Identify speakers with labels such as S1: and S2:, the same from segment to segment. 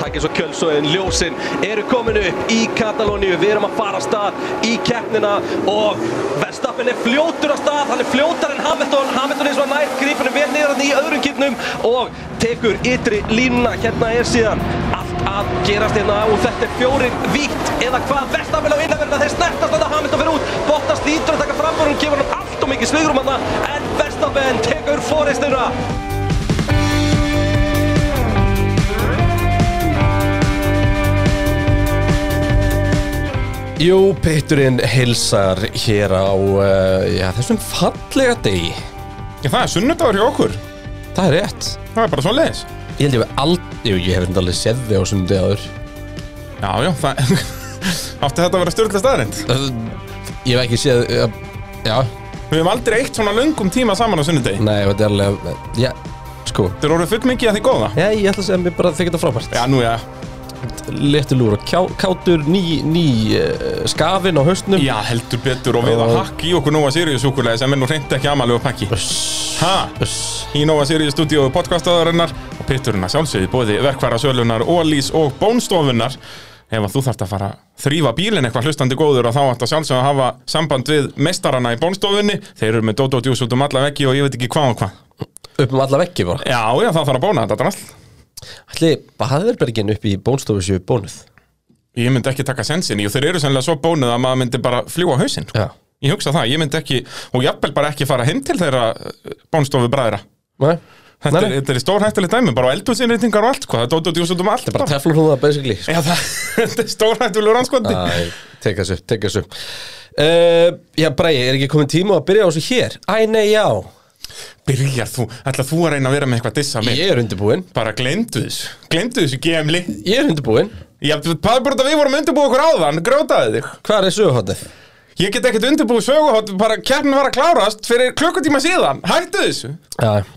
S1: Takk eins og kjöls og ljósin eru komin upp í Katalóníu, við erum að fara af stað í keppnina og Verstappen er fljótur af stað, hann er fljótar en Hamilton, Hamilton er svo nær grípunum vel niður hann í öðrum kýtnum og tekur ytri línuna, hérna er síðan allt að gerast hérna og þetta er fjórir víkt eða hvað Verstappen á innverðina, þeir snertast að Hamilton fyrir út, Bottas lítur að taka fram og hún gefur hann allt og mikið svigrum hann en Verstappen tekur fóreistuna Jú, Peturinn hilsar hér á uh, já, þessum fallega degi.
S2: Já, það er sunnudagur hjá okkur.
S1: Það er rétt.
S2: Það er bara svo leiðis.
S1: Ég held ég við aldrei, jú, ég hef þetta alveg séð þig á svona degaður.
S2: Já, já, það... Átti þetta að vera stjórnlega staðrind.
S1: Ég hef ekki séð, uh, já,
S2: Við hefum aldrei eitt svona löngum tíma saman á sunnudegi.
S1: nei, þetta er alveg, já, sko.
S2: Þetta er orðið full mikið að því góða.
S1: Já, ég ætla að segja mér bara að þykja þetta frábært.
S2: Já, nú já.
S1: Léttur lúr og kjá, kátur, ný, ný uh, skafin á haustnum.
S2: Já, heldur betur og við að hakka í okkur Nova Sirius súkulega sem er nú reyndi ekki amalegu pakki. Ha?
S1: Uss.
S2: Í Nova Sirius stúdíu podcastaðarinnar og pitturinn að sjálfsögði bóði verkværa sölunar, ólís og bónstofunar. Ef að þú þarft að fara að þrýfa bílinn eitthvað hlustandi góður og þá ætti að sjálfsögða að hafa samband við mestarana í bónstofunni. Þeir eru með Dodo Djús út um alla veggi og ég veit ekki hvað og hvað.
S1: Upp um alla veggi bara.
S2: Já, já, það þarf að bóna þetta drall
S1: Ætli, baðverbergin upp í bónstofu séu bónuð.
S2: Ég myndi ekki taka sensin í og þeir eru sennilega svo bónuð að maður myndi bara fljúa hausinn sko.
S1: Já.
S2: Ég hugsa það, ég myndi ekki, og jafnvel bara ekki fara heim til þeirra bónstofu bræðra
S1: Nei?
S2: Þetta, er, þetta er stór hættulegt dæmi, bara eldhúsinreitingar og allt sko. Það er dótt og djús út um allt
S1: Bara teflum hún það basically, sko.
S2: Já, það, þetta er stór hættulegur anskoti
S1: Æ, tek þessu, tek þessu uh, Já, Bræði, er ekki komin tíma að byrja á þessu hér? Æ, nei, já
S2: Byrjar þú, ætla þú að reyna að vera með eitthvað dissa mig
S1: Ég er undirbúinn,
S2: Bara gleymdu þessu, gleymdu þessu gemli
S1: ég er undirbúinn
S2: Já, það er bara þetta við vorum undirbúið okkur áðan, grátaði þig
S1: Hvað er söguhóttið?
S2: Ég get ekkert undirbúið söguhótt, bara keppnin var að klárast fyrir klukkutíma síðan, hættu þessu
S1: Já uh,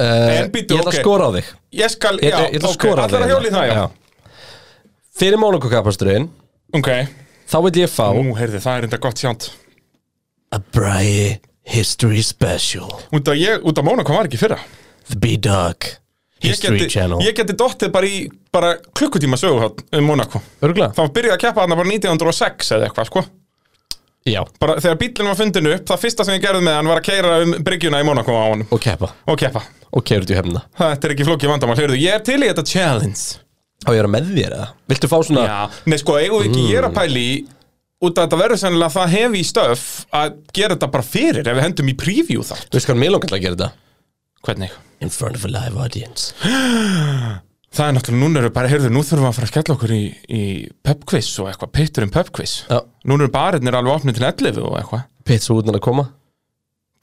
S2: En býttu,
S1: Eh, Ég ætla að
S2: ok.
S1: skora á þig
S2: Ég skal,
S1: Ég
S2: já,
S1: ætla, ég ætla að
S2: ok,
S1: skora á þig hérna.
S2: allar að hjóli það, já,
S1: Fyrir mónokokapasturinn
S2: Ok,
S1: Þá vil ég fá
S2: nú, heyrði, það er enda gott sjánt
S3: A Bræi History Special
S2: Út af, ég, út af Mónaco var ekki í fyrra
S3: The B-Dog
S2: Ég
S3: History
S2: geti,
S3: Channel
S2: ég geti dottið bara í bara klukkutíma söguhótt um Mónaco
S1: Örgla?
S2: Það var byrjað að keppa þarna bara 1906 eða eitthvað, sko
S1: Já
S2: Bara þegar bílinn var fundin upp, það fyrsta sem ég gerði með hann var að keira um bryggjuna í Mónaco á honum
S1: Og keppa
S2: Og keppa,
S1: Og keirut í hefna
S2: þetta er ekki flókið vandamál, heyrðu, ég er til í þetta challenge
S1: Á ég er með þér eða? Viltu fá svona
S2: Já, nei sko, eigum við ekki ég er að pæli í út að þetta verður sennilega það hefi í stöf að gera þetta bara fyrir ef við hendum í preview þá
S1: Þú veist hvað mér langar til að gera þetta?
S2: Hvernig?
S3: In front of a live audience
S2: Það er náttúrulega, núna eru bara, heyrðu, nú þurfum við að fara að skella okkur í, í pubquiz og eitthvað, pitturinn pubquiz
S1: Já
S2: Núna eru barirnir alveg opnið til 11 og eitthvað
S1: Pits og útnar að koma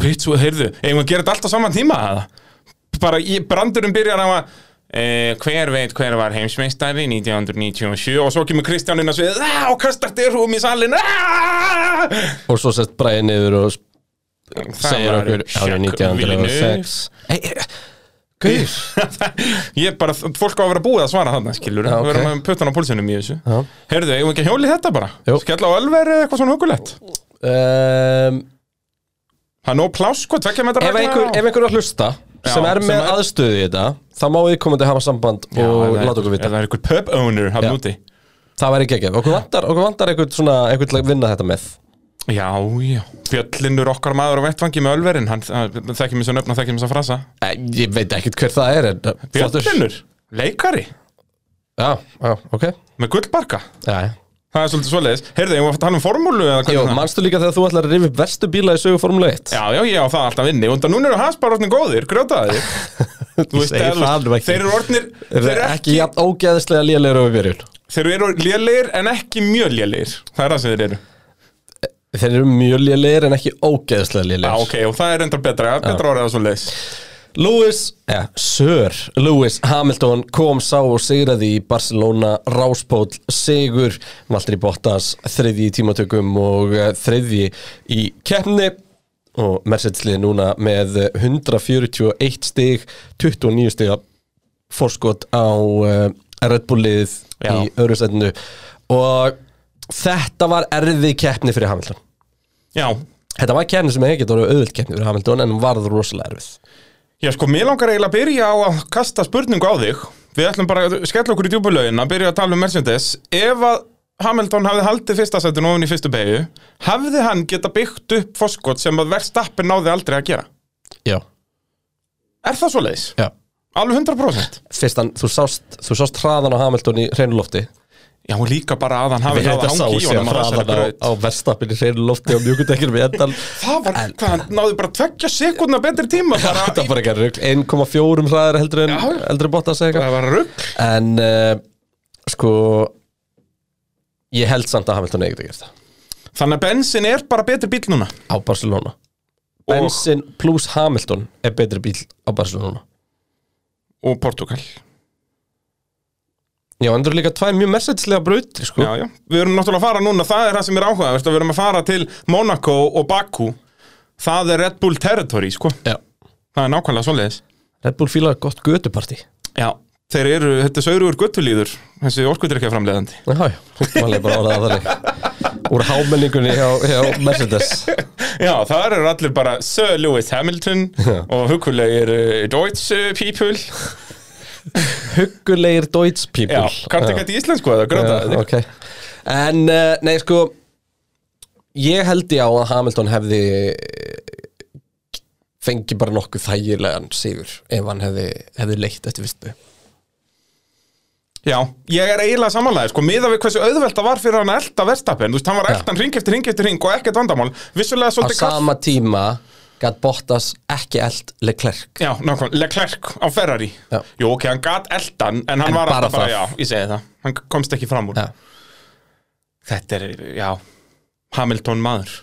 S2: Pits og heyrðu, eigum við að gera þetta allt á saman tíma eða? Bara í brandurinn byrjar á að Uh, hver veit hver var heimsmeistari 1997 og svo kemur Kristján inn að svið og kastar dyrum í salin
S1: Og svo sett Bræði niður og segir
S2: var
S1: okkur árið
S2: Jacques Villeneuve.
S1: 1906 Guður
S2: Ég bara, fólk á að vera búið að svara þarna, skilur
S1: Já, ok.
S2: Við erum með puttan á pólsunum í þessu
S1: Já.
S2: Heyrðu, eigum við ekki að hjóli þetta bara?
S1: Jú.
S2: Skella á alveg eitthvað svona hugulegt
S1: um,
S2: Það er nóg pláss, sko, tvekja metra
S1: Ef einhver, ef einhver er að hlusta sem
S2: Já,
S1: er með
S2: sem er-
S1: aðstöðu í þetta þá má við komandi hafa samband og láta okkur vita
S2: Ef það er einhver pub owner hann
S1: Já.
S2: úti
S1: Það væri ekki ekki, okkur vantar, okkur vantar einhvern svona einhvern til að vinna þetta með
S2: Já, já Fjölllinur okkar maður á vettvangi með ölverin Hann hann- þekkjum þessu nöfn og þekkjum þessu frasa
S1: Æ, Ég veit ekkert hver það er en flottur.
S2: Fjölllinur, leikari
S1: Já, já, ok
S2: Með gullbarka
S1: já, já.
S2: Það er svolítið svoleiðis Heyrðu, eigum við að tala um formúlu eða hvernig
S1: Jó,
S2: það-
S1: manstu líka þegar þú ætlar að rifja upp verstu bíla í sögu Formule 1
S2: Já, já, já, það er alltaf inni Undan núna eru hans bara orðnir góðir, grjótaðir Þú veist,
S1: segir
S2: eða
S1: það
S2: þú
S1: alveg
S2: veist,
S1: ekki.
S2: Þeir eru orðnir
S1: Er
S2: Þeir
S1: það ekki jafn ógeðislega lélegur og við verjum
S2: Þeir eru lélegir en ekki mjög lélegir Það er það sem þeir eru
S1: Þeir eru mjög lélegir en ekki ógeðislega
S2: Já,
S1: lélegir
S2: ok, og það er enda betra, betra orðið að svo leis
S1: Lewis, eða Sir Lewis Hamilton kom sá og sigraði í Barcelona ráspól sigur, Valtteri Bottas þriði í tímatökum og eh, þriðji í keppni og Mercedes liði núna með eh, 141 stig 29 stiga fórskot á uh, Red Bull liðið
S2: Já.
S1: í öðru setinu og þetta var erfið keppni fyrir Hamilton
S2: Já,
S1: Þetta var keppni sem ekki voru auðvild keppni fyrir Hamilton en hún varð rosalega erfið
S2: já sko, mér langar eiginlega að byrja á að kasta spurningu á þig Við ætlum bara að skella okkur í djúbulögin að byrja að tala um Mercedes Ef að Hamilton hafði haldið fyrsta sætun ofin í fyrstu beigju Hafði hann geta byggt upp foskot sem að verðstappin náði aldrei að gera
S4: Já,
S2: Er það svo leiðis?
S4: já
S2: Alveg 100%?
S1: Fyrst hann, þú sást, þú sást hraðan á Hamilton í hreinu lofti
S2: Já, og líka bara að hann hafi
S1: Við
S2: náð
S1: þetta
S2: að
S1: sá
S2: hangi í
S1: sér
S2: honum á þessari
S1: hraðan á,
S2: braut
S1: á verstapinni hreinu lofti á mjögundekjunum í endan
S2: Það var, hvað, hann náði bara tvekja sekundna betri tíma bara
S1: Þetta var bara eitthvað rugl 1,4 hraðar heldur en,
S2: Já.
S1: heldur en Bottas eða eitthvað
S2: Það var rugg
S1: En uh, sko Ég held samt að Hamilton eigi að gera það
S2: Þannig að bensin er bara betri bíl núna
S1: Á Barcelona
S2: Og-
S1: Bensin pluss Hamilton er betri bíl á Barcelona
S2: Og Portugal
S1: Já, en það eru líka tvær mjög mersettislega brautir sko.
S2: Já, já, við erum náttúrulega að fara núna, það er það sem er áhugavert að við erum að fara til Monaco og Baku Það er Red Bull territory, sko
S1: Já.
S2: Það er nákvæmlega svoleiðis
S1: Red Bull fílar gott göduparti
S2: Já, þeir eru, þetta er saurugur guttulíður þessi orkudrykja framleiðandi
S1: Já, já, maður er bara að orða það þannig Úr hámenningunni hjá, hjá Mercedes
S2: Já, það eru allir bara Sir Lewis Hamilton og hugulegir uh, Deutsche people
S1: Huggulegir Deutsch people
S2: Já, kanntu ekki þetta í íslensku sko, eða grönda
S1: Já, ok En, uh, nei, sko Ég held já að Hamilton hefði eh, fengið bara nokkuð þægilegan sigur ef hann hefði, hefði leitt eftir fyrstu
S2: Já, ég er eiginlega samanlega, sko, miða við hversu auðvelt það var fyrir hann að elda verðstapin, þú veist, hann var eldan ring eftir ring eftir ring og ekkert vandamál, vissulega
S1: Á
S2: svolítið kall-
S1: sama tíma gætt Bottas ekki eld Leclerc
S2: Já, nákvæmlega, Leclerc á Ferrari
S1: Já.
S2: Jú, ok, hann gat eldan En hann
S1: En
S2: var
S1: bara
S2: alltaf bara,
S1: það.
S2: já, ég segi það Hann komst ekki fram úr
S1: Já.
S2: Þetta er, já, Hamilton maður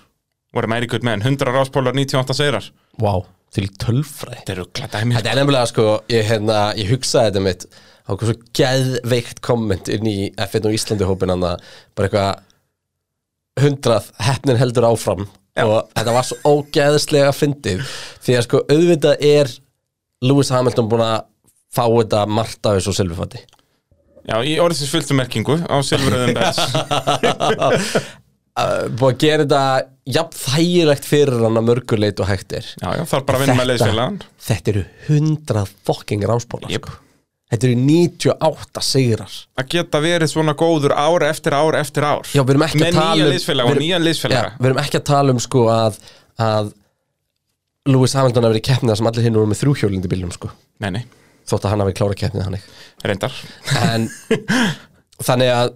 S2: Voru meiri gutt menn, 100 ráspólar, 98 seirar
S1: Vá, wow, til tölfræ
S2: Þetta eru glata heimil
S1: Þetta er nefnilega sko, ég, hérna, ég hugsaði þetta mitt á hversu geðveikt komment inn í F1 og Íslandi hópin hann bara eitthvað hundrað hefnin heldur áfram og þetta var svo ógeðslega fyndið því að sko auðvitað er Lewis Hamilton búin að fá þetta margt af þessu silfufatti
S2: Já, í orðsins fulltu merkingu á Silfröðum Bens
S1: búin að gera þetta jafn þægilegt fyrir hann að mörguleit og hægt er
S2: Já, já, þarf bara að vinna með leiðsfélagann
S1: þetta eru hundrað fokking ráspólar
S2: Jep.
S1: sko. þetta eru 98 sigrar
S2: Að geta verið svona góður ár eftir ár eftir ár
S1: Já, við erum ekki
S2: Með
S1: að tala um
S2: nýjan liðsfélag
S1: við
S2: og
S1: erum-
S2: nýjan liðsfélaga
S1: Já, Við erum ekki að tala um sko að, að Lewis Hamilton hafi verið keppnið sem allir hinn voru með þrjúhjólindi bílum sko
S2: Nei, nei,
S1: þótt að hann hafi klárað keppnið hann ekki
S2: reyndar
S1: en þannig að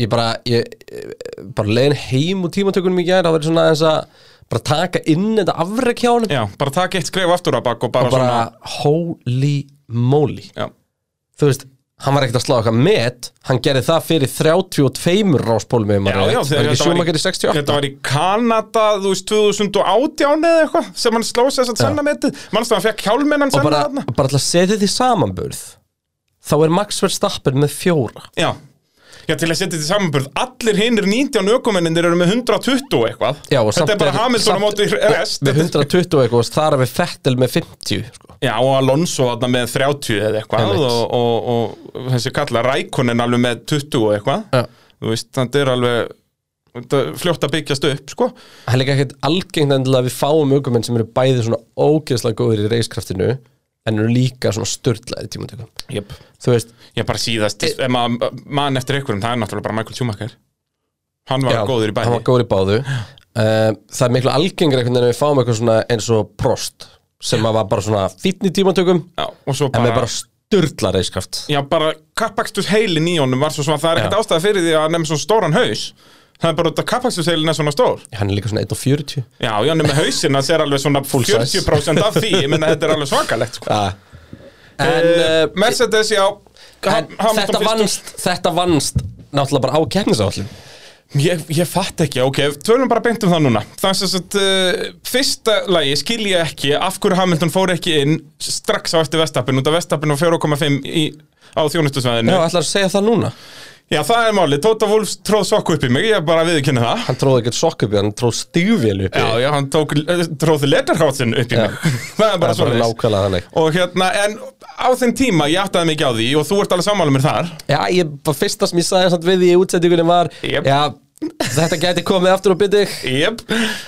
S1: ég bara ég, ég- bara leiðin heim úr tímatökunum í gær það verið svona aðeins að bara taka inn þetta afrek hjá hann
S2: Já, bara taka eitt skref aftur á bak og bara,
S1: og bara holy moly
S2: svona Já,
S1: þú veist hann var ekkert að slá eitthvað met hann gerði það fyrir 32 ráspólum ef maður
S2: Já, já,
S1: rétt. var ekki
S2: þetta var,
S1: sjómakar í 68
S2: þetta var í Kanada, þú veist, 2018 eða eitthvað sem hann sló sér satt sannametið mannstu að hann fekk hjálminn hann
S1: og bara,
S2: sanna þarna
S1: bara til að setja því samanburð þá er Max Verstappen með fjóra
S2: Já, já til að setja þetta í samanburð allir hinnir 19 ökumennir eru með 120 og eitthvað
S1: Já, og samt
S2: þetta er bara
S1: er-
S2: Hamilton á
S1: samt-
S2: móti rest
S1: með 120 og eitthvað og þar er við Fettel með 50 sko.
S2: Já, og Alonso þarna með 30 eða eitthvað
S1: Einmitt.
S2: og, og, og þessi kalla Rækonin alveg með 20 og eitthvað
S1: Já.
S2: þú veist, þetta er alveg þetta er fljótt að byggjast upp, sko
S1: það er líka ekkert algengt endilega að við fáum aukumenn sem eru bæði svona ógeðslega góðir í reiskraftinu en eru líka svona störtlaði tímatökum
S2: Jöp
S1: þú veist,
S2: Ég bara síðast,
S1: E-
S2: ef maður mann eftir einhverjum, það er náttúrulega bara Michael Schumacher Hann var góður í bæði
S1: hann var góður í báðu uh, það er miklu algengur einhvern veginn að við fáum eitthvað svona eins og prost sem að var bara svona fýtni tímatökum
S2: Já, og svo
S1: en
S2: bara,
S1: með bara störtla reiskraft
S2: Já, bara kappakstus heilin í honum var svo svona, það er ekkert ástæða fyrir því að hann er með svona stóran haus Það er bara út að kappakstus heilin er svona stór
S1: hann er líka svona 1.40
S2: Já, já, hann er með hausinn að sér alveg svona
S1: size.
S2: 40% af því, ég minna þetta er alveg svakalegt sko.
S1: ah. en
S2: uh,
S1: uh,
S2: Mercedes, já
S1: en þetta vannst, þetta vannst náttúrulega bara á keppnisállum
S2: Ég, ég fatt ekki, ok, tölum bara beint um það núna Það er sem sagt, uh, fyrsta lagi skil ég ekki af hverju Hamilton fór ekki inn strax á eftir Vestappin út af Vestappin á 4,5 í- á
S1: Já,
S2: þjónustusvæðinu Já.
S1: ætlar að segja það núna
S2: það er málið, Tóta Wolfs tróð sokku upp í mig, ég bara viðkynna það
S1: Hann tróði ekkert sokk upp í, hann tróði stífvél upp í
S2: Já, já, hann tók, eh, tróð letterhátsin upp í mig Það er bara
S1: Það var
S2: svona
S1: nákvæmlega þannig
S2: Og hérna, en á þeim tíma ég áttaði mikið á því og þú ert alveg sammála mér þar
S1: Já, ég, bara fyrsta sem ég sagði samt við því í útsendingunni var
S2: Jep.
S1: Já, þetta gæti komið aftur á bytti
S2: Jep,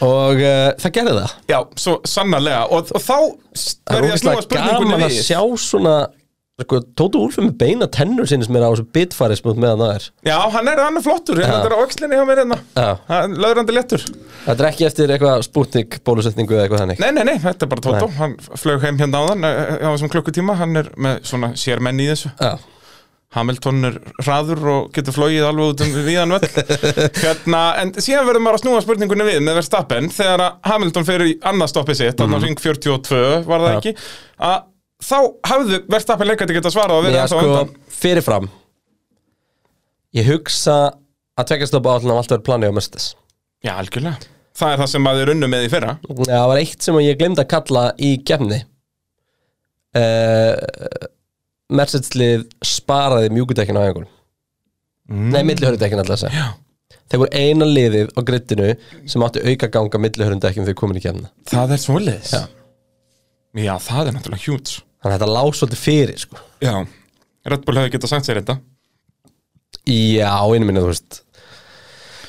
S1: Og uh, það gerði það
S2: já, svo sannarlega og, og þá
S1: Það er
S2: verði að snúa
S1: ógeðslega
S2: spurningunni
S1: gaman að
S2: við
S1: sjá svona sko, Tóti Úlf er með beina tennur sinni sem er á þessu bitfæri smútt meðan það er
S2: Já, hann er annar flottur, hann er á öxlinni hjá mér hérna
S1: Já.
S2: Hann er Löðrandi lettur
S1: Þetta er ekki eftir eitthvað spútnik bólusetningu eða eitthvað þannig
S2: Nei, nei, nei, þetta er bara Tótó, hann flög heim hérna áðan eh, á þessum klukkutíma, hann er með svona sérmenn í þessu
S1: Já,
S2: Hamilton er hraður og getur flogið alveg út um viðan völl hérna, En síðan verður maður að snúa spurningunni við með Verstappen þegar að Hamilton fer í annað stoppið sitt, þannig að ring 42 var
S1: Mhm. Já.
S2: það ekki að þá hafðu Verstappen leikandi geta svarað að vera
S1: Já,
S2: þetta
S1: sko,
S2: undan
S1: fyrirfram Ég hugsa að tvekja stoppa átlun af alltaf verið planið á Mercedes
S2: Já, algjörlega Það er það sem maður runnu með í fyrra
S1: Já, það var eitt sem ég glemd að kalla í kemni uh, Mercedes-lið sparaði mjúkudekkin á einhverjum mm. Nei, millihörudekkin alltaf þess
S2: Já.
S1: að Þeir voru eina liðið á grittinu sem átti auka ganga millihörudekkin þegar komin í kemna
S2: Það er svoleiðis
S1: Já.
S2: Já, það er náttúrulega hjúts
S1: Þannig að þetta lá svolítið fyrir sko.
S2: Já, Red Bull hefði getað sagt sér þetta
S1: Já, einu minni, þú veist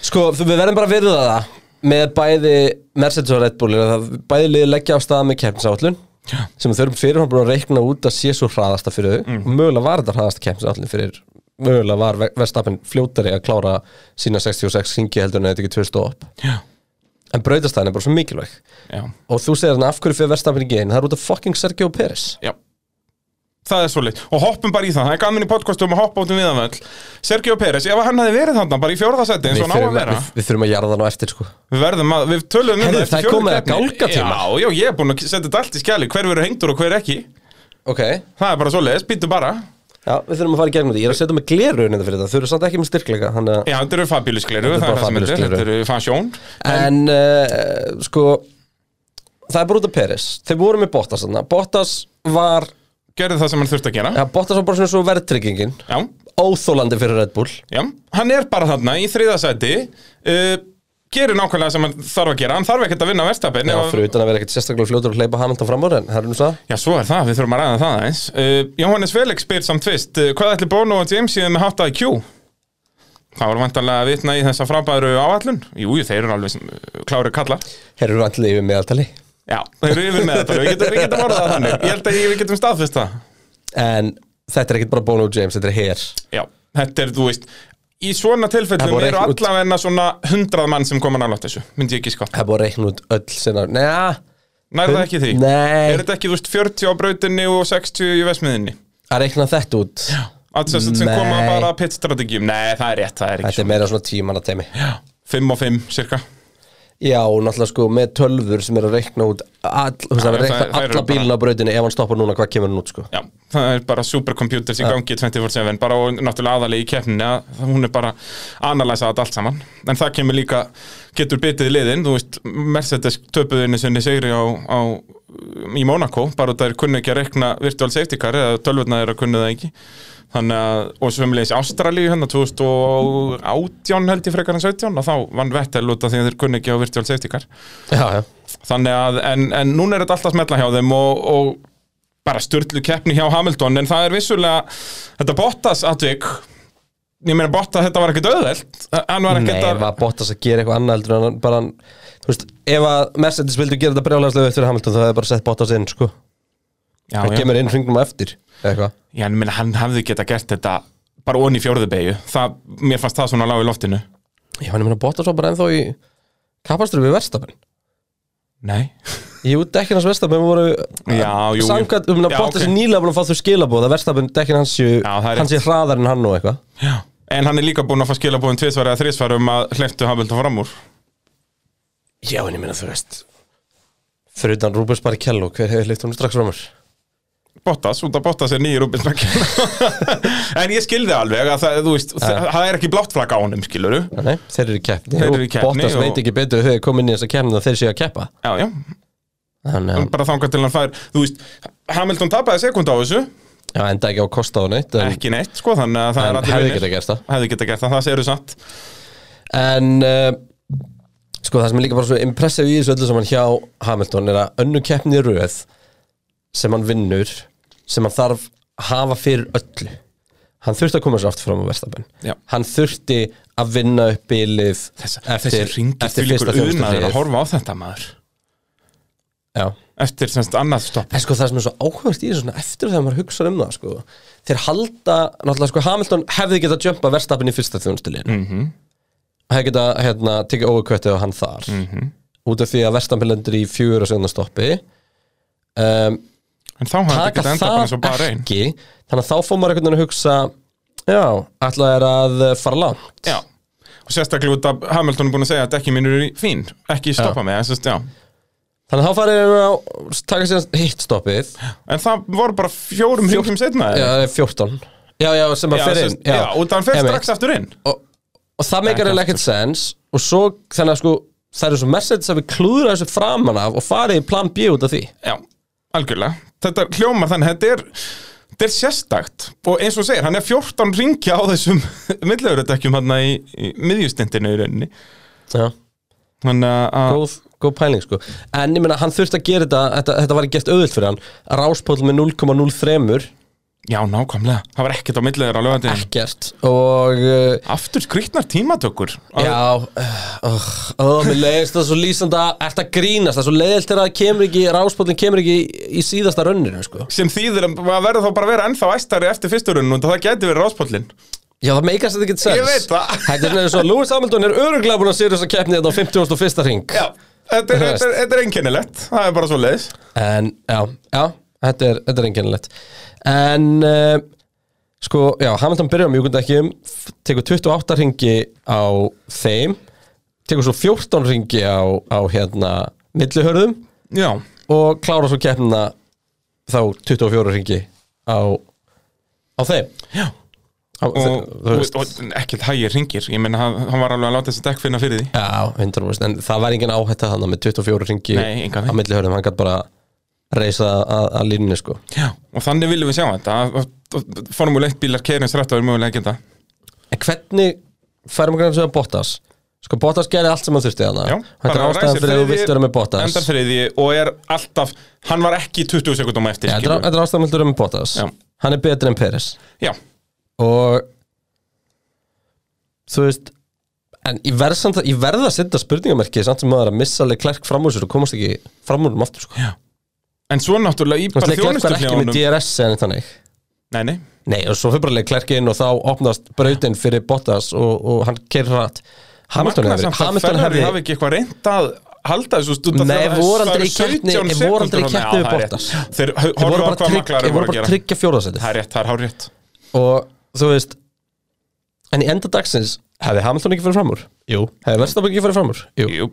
S1: Sko, þú- við verðum bara að virða það með bæði Mercedes og Red Bull er að það- bæði liðið leggja á stað með kemnsállun
S2: Já.
S1: sem þau eru fyrir hann búin að reikna út að sé svo hraðasta fyrir þau
S2: Mm.
S1: og mögulega var þetta hraðasta kemnsállun fyrir mögulega var Ver- Verstappen fljótari að klára sína 66 hringi heldur en þetta ekki 2000 og upp
S2: Já,
S1: en brautastæðin er bara svo mikilvæg
S2: já,
S1: og þú segir hann af hverju fyrir Verstappen í gein það er út af fucking Sergio Pérez
S2: já Það er svolít og hoppum bara í það, það er gaman í podcastum að hoppa út um viðanvöll Sergio Pérez, ef hann hefði verið þarna bara í fjórðasetti eins og hann á að
S1: þurfum,
S2: vera
S1: við, við þurfum að jarða hann á eftir sko
S2: Við verðum að, við tölum um
S1: Heyrðu,
S2: eftir
S1: það er
S2: fjórðu
S1: komið að
S2: keppni.
S1: gálgatíma.
S2: Já, já, ég er búin að setja þetta allt í skjali, hver verður hengdur og hver ekki
S1: ok,
S2: Það er bara svolítið, býttu bara
S1: já, við þurfum að fara í gegnum því ég er að setja með gleruðin þetta fyrir þetta þau eru samt ekki með styrkleika þannig að
S2: Já, þetta eru fabílusgleru,
S1: Þetta er
S2: það er
S1: bara
S2: það sem þetta
S1: fabulous
S2: er, þetta eru fasjón
S1: En uh, sko Það er bara út af Peris Þeir voru með Bottas þarna Bottas var
S2: Gerðu það sem hann þurfti að gera
S1: ja, Bottas var bara svona svo verðtryggingin
S2: Já,
S1: Óþólandi fyrir Red Bull
S2: já, hann er bara þarna í þriðasetti uh, Gerir nákvæmlega sem hann þarf að gera, hann þarf ekkert að vinna verstapin
S1: Já, fyrir utan að vera ekkert sérstaklega fljótur að hleypa Hamilton fram úr en það er nú það
S2: Já, svo er það, við þurfum að ræða það eins uh, Jóhannes Felix spyr samt fyrst uh, Hvað ætli Bono og James séu með hátt IQ? Það voru vantanlega að vitna í þessa frábæru áallun Jú, jú, þeir eru alveg sem, uh, klári kallar
S1: Herru vantilega yfir meðaltali
S2: Já, þeir eru yfir með þetta, við getum, við getum orðað það þannig Ég held að ég- við getum staðfist það
S1: En þetta er ekkert bara Bono og James, þetta er hér
S2: Já, þetta er, þú veist Í svona
S1: Það er
S2: tilfellum
S1: búið að
S2: eru
S1: reikna út.
S2: allavegna svona hundrað mann sem koma nálægt þessu Myndi ég ekki sko
S1: Það er búið að reikna út öll sinna Næja
S2: Nær það ekki því?
S1: Nei.
S2: Er þetta ekki, þú veist, 40 á brautinni og 60 í vesmiðinni?
S1: Að reikna þetta út
S2: Allt sem sem koma
S1: Nei.
S2: bara að pitstrategjum Nei, það er rétt, það er ekki
S1: Þetta er meira svona tímanna teimi
S2: Já, 5 og 5 cirka
S1: Já, og náttúrulega sko með tölfur sem eru að reikna út all, þú veist, að
S2: Já,
S1: reikna
S2: það- það eru
S1: alla
S2: bara-
S1: bílina á brautinu ef hann stoppar núna, hvað kemur hann út sko
S2: Já, það er bara supercomputers í gangi 24-7 bara og náttúrulega aðalega í keppninu að það- hún er bara að analysa þetta allt saman en það kemur líka, getur bitið liðin þú veist, Mercedes töpuðinu sinni sigri á, á, í Monaco bara það er kunni ekki að rekna virtual safety car eða tölvurna er að kunni það ekki þannig að, og sem leys Ástralíu hérna 2018 held ég frekar en 17 og þá vann Vettel út af því að þeir kunni ekki á virtual safety car
S1: Já, já
S2: Þannig að, en, en núna er þetta alltaf smetla hjá þeim og, og bara störtlu keppni hjá Hamilton en það er vissulega, þetta Bottas atvik, ég meina Bottas þetta var ekkert auðvelt, hann var
S1: Nei,
S2: ekkert
S1: ef
S2: að
S1: að Bottas að gera eitthvað annað heldur en hann bara, þú veist, ef að Mercedes vildu gera þetta brjálæðslega fyrir Hamilton þá hefði bara sett Bottas inn, sko
S2: já,
S1: hann
S2: já.
S1: kemur inn hringnum á eftir, eða eitthvað
S2: já, en ég meina hann hafði geta gert þetta bara onni í fjórðubegju, það, mér fannst það svona lág í loftinu.
S1: Já, hann er meina Bottas var bara ennþá í kapastur við Verstapen
S2: Nei,
S1: Jú, dekkin hans Verstapen voru
S2: Já, jú, jú.
S1: Samkvæmt, um að
S2: Já,
S1: Bottas
S2: ok.
S1: er nýlega búin að fá þau skilabóð að Verstapen dekkin hans séu,
S2: Já, það er
S1: hans sé hraðar en hann og eitthvað
S2: já. En hann er líka búinn að fá skilabóðin tvisvar eða þrisvar um að hleyptu Hamilton fram úr.
S1: Já, en ég meina, þú veist Fyrir utan Rúbens Barrichello, hver hefur hlýtt hún strax framur?
S2: Bottas, út af Bottas er nýjir Rubens Bakkin En ég skildi alveg að það, þú veist, það er ekki blátt flagg á honum, skiluru
S1: Nei, þeir eru í keppni
S2: Þeir eru í
S1: og
S2: keppni
S1: Bottas
S2: og-
S1: veit ekki betur þau komin inn í þessa keppni að þeir séu að keppa
S2: Já, já,
S1: Þannig að
S2: bara þangað til hann fær Þú veist, Hamilton tapaði sekund á þessu
S1: Já, enda ekki á kosta og neitt en,
S2: Ekki neitt, sko, þannig að
S1: en
S2: það er allir
S1: hefði
S2: vinir.
S1: geta gert það
S2: Hefði geta gert það, það séru satt
S1: En uh, sko, það sem er líka bara svo impressive í þessu öllu sem hann hjá Hamilton er að önnu keppni í röð sem hann vinnur sem hann þarf að hafa fyrir öllu Hann þurfti að koma sér aftur fram á verstabenn
S2: Já.
S1: Hann þurfti að vinna upp bilið
S2: Þessa,
S1: eftir,
S2: Þessi ringir
S1: eftir
S2: til
S1: fyrsta
S2: ykkur unaður að
S1: þjónustufríð
S2: horfa á þetta maður
S1: Já
S2: eftir semst annað stopp
S1: En sko það sem er svo áhugavert í þessu svona eftir þegar maður hugsa um það sko Þeir halda, náttúrulega sko Hamilton hefði getað jumpa verðstapin í fyrsta þjónustilin mm
S2: Mhm.
S1: -hmm. Hefði getað hérna tekið overkvættið á hann þar
S2: Mhm.
S1: -hmm. Út af því að verðstapin lendur í fjögur og sjöðna stoppi um,
S2: en þá hafði
S1: Taka
S2: ekki enda bara eins og
S1: það
S2: bara einn
S1: ekki Þannig að þá fór maður einhvern veginn að hugsa Já, ætla er að eh, fara langt
S2: Já, og sérstaklega út af Hamilton er búin að segja að dekki mín eru í- fín, ekki stoppa mig en, sérst, já.
S1: Þannig að þá farið við að taka sér hitt stoppið
S2: en það voru bara fjórum
S1: Fjór-
S2: hringjum setna
S1: Já, það er 14 Já, já, sem að
S2: já,
S1: fer inn
S2: sérst, já, og það fer
S1: Emmett.
S2: strax aftur inn
S1: og, og það meikar eiginlega ekkert sens og svo þannig að sko það eru svo message að við klúðra þessu framan af og farið í plan B út af því
S2: Já, algjörlega Þetta hljómar þannig, þetta er Þetta er sérstakt og eins og þú segir, hann er 14 ringja á þessum millöðurudekkjum hann í, í miðjustindinu í rauninni
S1: Já.
S2: Þannig að- að
S1: góð, góð pæling sko en ég meina hann þurfti að gera þetta þetta, þetta var ekki gert auðvilt fyrir hann ráspól með 0,03
S2: Já, nákvæmlega, það var ekkert á millöður á lögandinn
S1: ekkert og uh,
S2: Aftur skrýtnar tímatökur Að-
S1: já uh, uh, mér leiðist það svo lýsanda ert að grínast það er svo leiðilt þegar það kemur ekki ráspólinn kemur ekki í, í síðasta rönninu sko
S2: sem þýðir að maður verður þá bara að vera ennþá æstari eftir fyrsturinn og það gæti verið ráspóllin
S1: já það meikast þetta ekki sens
S2: Ég veit það.
S1: þetta er svona eins og Lewis Hamilton er öruglega búin að sér þess að keppni þetta á 51. ring
S2: Já, þetta er,
S1: Þú veist.
S2: þetta er, þetta er einkennilegt það er bara svo leiðis
S1: En, já, já, þetta er, þetta er einkennilegt En, uh, sko, já, Hamilton byrjar á mjúkundekkjum f- Tekur 28 ringi á þeim Tekur svo 14 ringi á, á hérna, millihörðum
S2: Já,
S1: Og klárar svo keppnina þá 24 ringi á, á þeim Já á,
S2: og,
S1: þe- þú
S2: og,
S1: veist.
S2: og, ekkert hægir ringir ég meina, hann, hann var alveg að láta þessi dekk finna fyrir því
S1: Já, 100% En það var engin áhætta þannig með 24 ringi
S2: Nei,
S1: á
S2: engan veginn.
S1: millihörðum Hann gætt bara reisa að, að línunni, sko
S2: Já, og þannig viljum við sjá þetta að- að- að Formule 1 bílar keirins rætt og er mögulega að geta
S1: En hvernig færum við grann að Bottas? Sko Bottas gerði allt sem hann þurfti hana
S2: Já,
S1: Þetta er
S2: bara
S1: ástæðan
S2: ræsir
S1: fyrir að þú
S2: þriðji,
S1: vilt vera með Bottas
S2: Endar þriði og er alltaf hann var ekki 20 sekundum eftir
S1: Já, Þetta er
S2: skilur við.
S1: þetta er ástæðan fyrir að þú vera með Bottas
S2: Já.
S1: Hann er betri en Peres
S2: Já,
S1: Og Þú veist En ég verð, samt, að- ég verð að setja spurningamerki samt sem maður að missa alveg klerk fram úr sér og komast ekki fram úr um aftur sko.
S2: en svo náttúrulega í bara
S1: Klerk var
S2: þjónustu
S1: ekki með DRS eða neitt þannig
S2: Nei, nei,
S1: Nei, og svo fyrir bara leik klerk inn og þá opnast brautinn fyrir Bottas og, og hann kerði hratt Hamilton
S2: Magnað
S1: hefði,
S2: samt að
S1: Hamilton
S2: Ferrari
S1: hefði
S2: hafi ekki eitthvað reynd að halda þessu stund að
S1: Nei,
S2: það-
S1: voru
S2: það
S1: aldrei
S2: eru
S1: í keppni-
S2: 17
S1: þeir voru aldrei í
S2: sekúndur þarna.
S1: keppni
S2: Já,
S1: við
S2: það er rétt.
S1: Bottas.
S2: Þeir
S1: Þeir
S2: horfðu
S1: voru
S2: á
S1: bara
S2: hvað
S1: trygg-
S2: maklari
S1: þeir voru
S2: voru að
S1: bara
S2: gera
S1: tryggja fjóðarsætið
S2: Það er rétt, það er hár rétt
S1: og þú veist en í enda dagsins hefði Hamilton ekki farið fram úr Jú hefði Verstappen ekki farið fram úr Jú
S2: Jú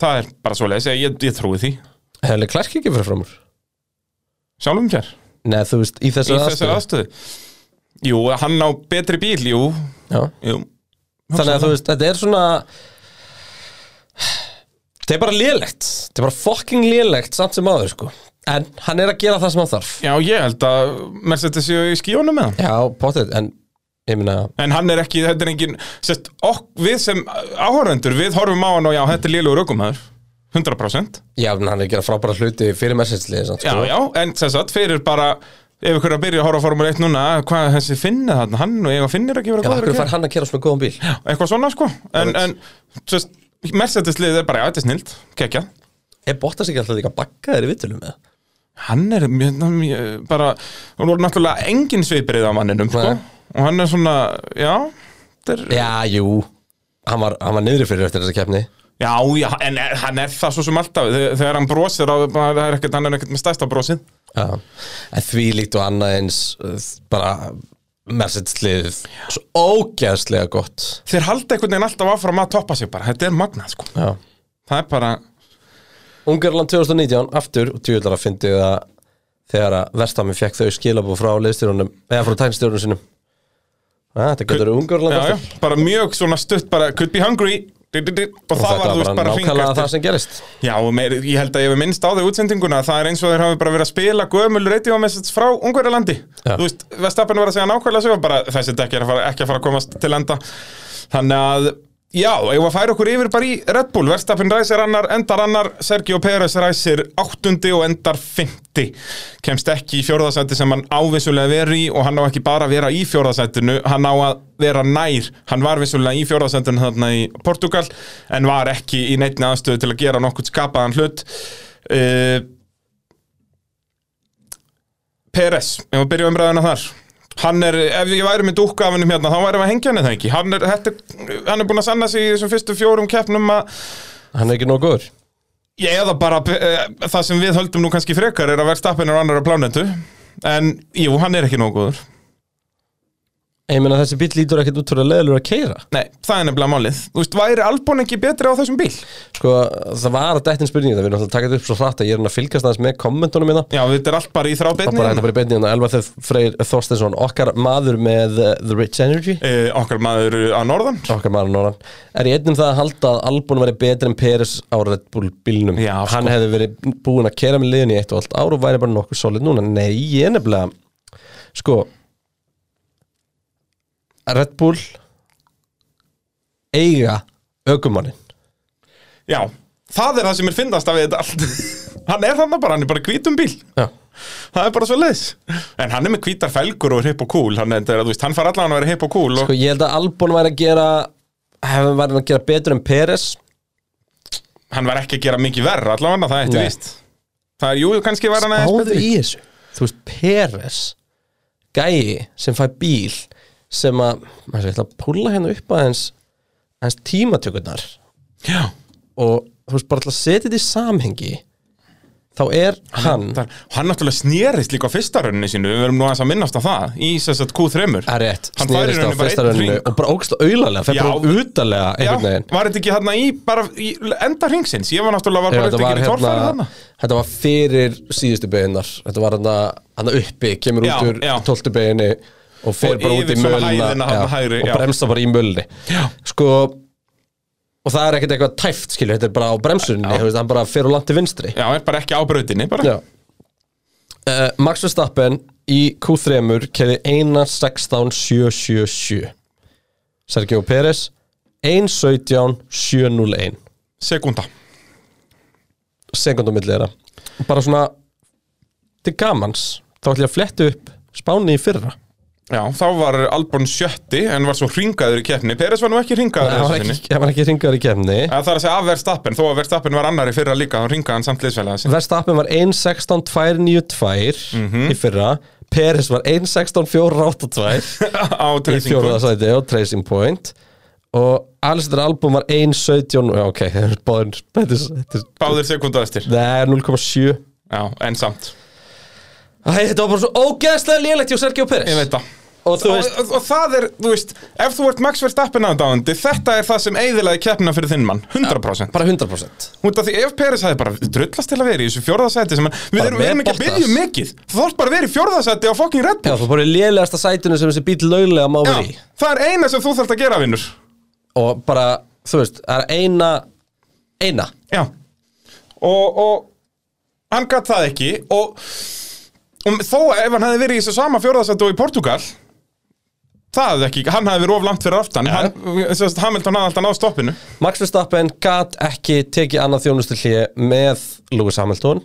S2: Það er bara svo leiðis, ég, ég, ég trúi því
S1: hefði Leclerc ekki farið fram úr
S2: Sjálfum sér
S1: Nei, þú veist, í
S2: Í
S1: þessu
S2: þessari aðstöðu Jú, hann á betri bíl, jú,
S1: Þannig
S2: jú.
S1: að þú veist, þetta er svona þetta er bara lélegt þetta er bara fucking lélegt samt sem áður sko en hann er að gera það sem hann þarf
S2: Já, ég held að Mercedes séu í skíónum með hann
S1: Já, potið, en ég meina
S2: En hann er ekki, þetta er engin sérst, ok, Við sem áhörvendur, við horfum á hann og já, þetta er lélugur ökumæður 100%
S1: Já, en hann er að gera frábæra hluti fyrir message-liði
S2: Já, já, en sem sagt, fyrir bara ef ykkur er að byrja að horfa á Formule 1 núna hvað er þessi finna þarna, hann og ég að finnir ekki vera
S1: Já,
S2: góður
S1: okkur
S2: að
S1: fær
S2: gera
S1: hann að kera svona góðan bíl Já,
S2: eitthvað svona sko en, en sérst, Mercedes liðið er bara, já, þetta er snild, kekja
S1: Er Bottas ekki alltaf líka bakkaðir í vitulum með?
S2: hann er mjög, ná, mjög, bara hún voru náttúrulega engin sviprið á manninum sko.
S1: Nei.
S2: og hann er svona, já þetta er, já.
S1: Já, jú Hann var, hann var niðri fyrir eftir þessa keppni
S2: já, en er, hann er það svo sem alltaf þegar, þegar hann brosir, á, bara, er ekkert, hann er ekkert með stæsta brosið
S1: Já En því líkt og annað eins uh, bara message-lið svo ógeðslega gott
S2: þeir halda einhvern veginn alltaf áfram að toppa sig bara, þetta er magnað sko,
S1: Já
S2: það er bara
S1: Ungarland 2019, aftur og tjóðlar að fyndi það þegar að Vestami fekk þau skilabú frá liðstjórunum eða frá tæknstjórunum sinum Já, þetta getur Ungarland
S2: já, já,
S1: aftur
S2: bara mjög svona stutt bara, could be hungry di, di, di, og,
S1: Og
S2: það var
S1: þetta
S2: þú veist bara hring
S1: nákvæmlega
S2: eftir
S1: það sem gerist
S2: já, og meir, ég held að ég hef minnst á þau útsendinguna það er eins og þeir hafi bara verið að spila gömul radiomessage frá Ungverjalandi
S1: Já.
S2: þú veist, Vestapen var að segja nákvæmlega sögur bara þessi dekki er að fara, ekki að fara að komast til enda þannig að Já, ég var að færa okkur yfir bara í Red Bull Verstappen ræsir annar, endar annar Sergio Pérez ræsir áttundi og endar fymti Kemst ekki í fjórðasætti sem hann ávissulega veri í og hann á ekki bara að vera í fjórðasættinu Hann á að vera nær Hann var vissulega í fjórðasættinu þarna í Portugal En var ekki í neittni aðstöðu til að gera nokkuð skapaðan hlut uh, PRS, ef við byrjum umræðina þar hann er, ef ég væri með dúkkafinum hérna þá væri að hengja henni það ekki hann er, þetta, er- hann er búin að sanna sig í þessum fyrstu fjórum keppnum að
S1: Hann er ekki nóg góður
S2: ég eða bara uh, það sem við höldum nú kannski frekar er að verðstappin er á annara plánendu en jú, hann er ekki nógu góður
S1: Ég meina þessi bíl lítur ekkert út fyrir að leðalur að keira
S2: Nei, það er nefnilega málið Þú veist, væri Albon ekki betri á þessum bíl?
S1: Sko, það var að dættin spurningi það Við erum alltaf að taka þetta upp svo hratt að ég er hann að fylgast aðeins með kommentunum hérna. minna
S2: Já, þetta er allt bara í
S1: Það
S2: þrábeinni
S1: bara þetta bara í beinni hérna Elva Þ- Freyr Þorstensson, okkar maður með uh, The Rich Energy
S2: uh, Okkar maður að norðan
S1: okkar maður Norran er í einnum það að halda að Albon væri betri en Peres á Red Bull bílnum
S2: Já, sko.
S1: hann hefði verið búinn að kera með liðin í eitt og allt ár og væri bara nokkuð solid núna nei, ég er nefnilega sko Red Bull eiga ökumannin
S2: Já, það er það sem er finnast af þetta allt Hann er þarna bara, hann er bara hvítum bíl
S1: já,
S2: Það er bara svo leis En hann er með hvítar felgur og er hipp og cool Hann, er, þú veist, hann fær allan að vera hipp og cool og...
S1: sko ég held að Albon væri að gera hefði væri að gera betur en Peres
S2: Hann var ekki að gera mikið verra allavega, það
S1: Nei.
S2: er eitt víst Það er, jú, kannski var hann aðeins
S1: Háðu
S2: betri
S1: í þessu Þú veist, Peres Gæi sem fæ bíl sem að, maður sé, ég ætla að púla hérna upp aðeins aðeins tímatökurnar
S2: Já,
S1: og þú veist, bara ætla að setja þetta í samhengi þá er hann
S2: það, hann náttúrulega snerist líka á fyrsta rauninni sínu Við verum nú aðeins að minnast á það Í sess að Q3
S1: Það er rétt,
S2: Hann færir
S1: snerist á
S2: henni bara
S1: fyrsta
S2: einn
S1: rauninu
S2: hring.
S1: og bara ógst og auðarlega, fer
S2: Já.
S1: bara útalega
S2: Já,
S1: einhvern veginn
S2: var þetta ekki hérna í, bara, í enda hringsins? Ég var náttúrulega var
S1: Já,
S2: bara
S1: þetta
S2: eftir
S1: var,
S2: ekki torfæri
S1: hérna,
S2: þarna.
S1: þetta var fyrir síðustu beginnar Þetta var hérna, hérna uppi, kemur
S2: Já,
S1: út úr
S2: já.
S1: 12. beginni og fer
S2: Og
S1: bara út í
S2: yfir svona
S1: mölna
S2: hæðina
S1: já,
S2: þarna hægri,
S1: og
S2: já.
S1: bremsa bara í mölni Sko, og það er ekkert eitthvað tæft skilju, þetta er bara á bremsunni þú veist, Hann bara fer og langt til vinstri
S2: Já, er bara ekki á brautinni bara.
S1: Já uh, Max Verstappen í Q3 keði 1.16.777 Sergio Pérez 1.17.701
S2: Sekunda.
S1: sekundum milli þeirra Og bara svona til gamans þá ætla ég að fletta upp spáni í fyrra
S2: Já, þá var Albon sjötti en var svo hringaður í keppni. Peres var nú ekki hringaður
S1: það
S2: þessu
S1: var,
S2: sinni.
S1: ekki- það var ekki ringaður í kemni
S2: Eða Það er að segja af Verstappen, þó að Verstappen var annar í fyrra líka, þá hringaði hann samt liðsfælega sinni.
S1: Verstappen var 1.16.292 í fyrra Pérez var 1.16.482
S2: á
S1: í fjóruða
S2: treysingu.
S1: sæti og Tracing Point og Alistair Albon var 1.17 já, ok, þetta er báðin þetta er- þetta er-
S2: Báðir sekundu eftir.
S1: það er 0.7
S2: Já, en samt.
S1: Æ, þetta var bara svo ógeðslega lélegt hjá Sergio Pérez
S2: Ég veit það.
S1: og þú
S2: Og,
S1: veist,
S2: og, og það er, þú veist, ef þú ert Max Verstappen aðdáðandi, þetta er það sem eiðilaði keppna fyrir þinn mann, 100%.
S1: bara 100%
S2: Út af því ef Peres hefði bara drullast til að vera í þessu fjórðasæti sem hann, við
S1: Bara
S2: erum, við
S1: með
S2: erum ekki að
S1: Bottas.
S2: byrja um mikið Þú þarft bara að vera í fjórðasæti á fucking Red
S1: já,
S2: Bull
S1: þú fór í lélegasta sætinu sem þessi bíl löglega má vera í
S2: Já, Það er eina sem þú þarft að gera, vinnur
S1: og bara, þú veist, það er eina eina
S2: Já Og, og hann gatt það ekki og, og þó að ef hann hefði verið í þessu sama fjórðasæti og í Portugal Það hefði ekki, hann hefði verið of langt fyrir aftan hann, sérst, Hamilton hafði alltaf náð stoppinu
S1: Max Verstappen gat ekki tekið annað þjónustu hlið með Lewis Hamilton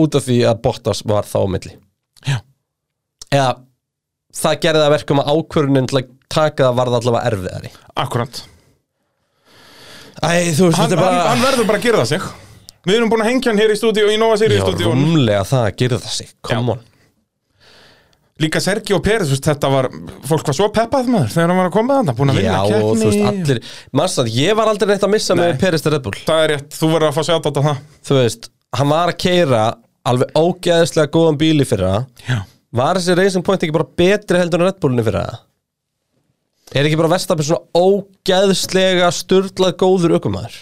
S1: út af því að Bottas var þá á milli
S2: Já.
S1: eða það gerði það að verkum að ákvörunin til að taka það varð allavega erfiðari
S2: Akkurant
S1: Æ, þú veist,
S2: hann,
S1: þetta er bara
S2: hann, hann verður bara að gera það sig Við erum búin að hengja hann hér í stúdíu, í Nova Sirius
S1: Já,
S2: stúdíu
S1: rúmlega það að gera það sig, come on
S2: Líka Sergio Pérez, þú veist, þetta var fólk var svo peppað maður þegar hann var að koma þannig búin að vinna
S1: Já,
S2: keppni
S1: og þú veist, allir Massað, ég var aldrei neitt að missa með Peris til Red Bull
S2: Það er rétt, þú verður að fá sér átt á það
S1: Þú veist, hann var að keira alveg ógeðslega góðan bíli fyrir það
S2: Já
S1: Var þessi Racing Point ekki bara betri heldur en Red Bullinni fyrir það? Er ekki bara Vestapin svona ógeðslega sturlað góður ökumæður?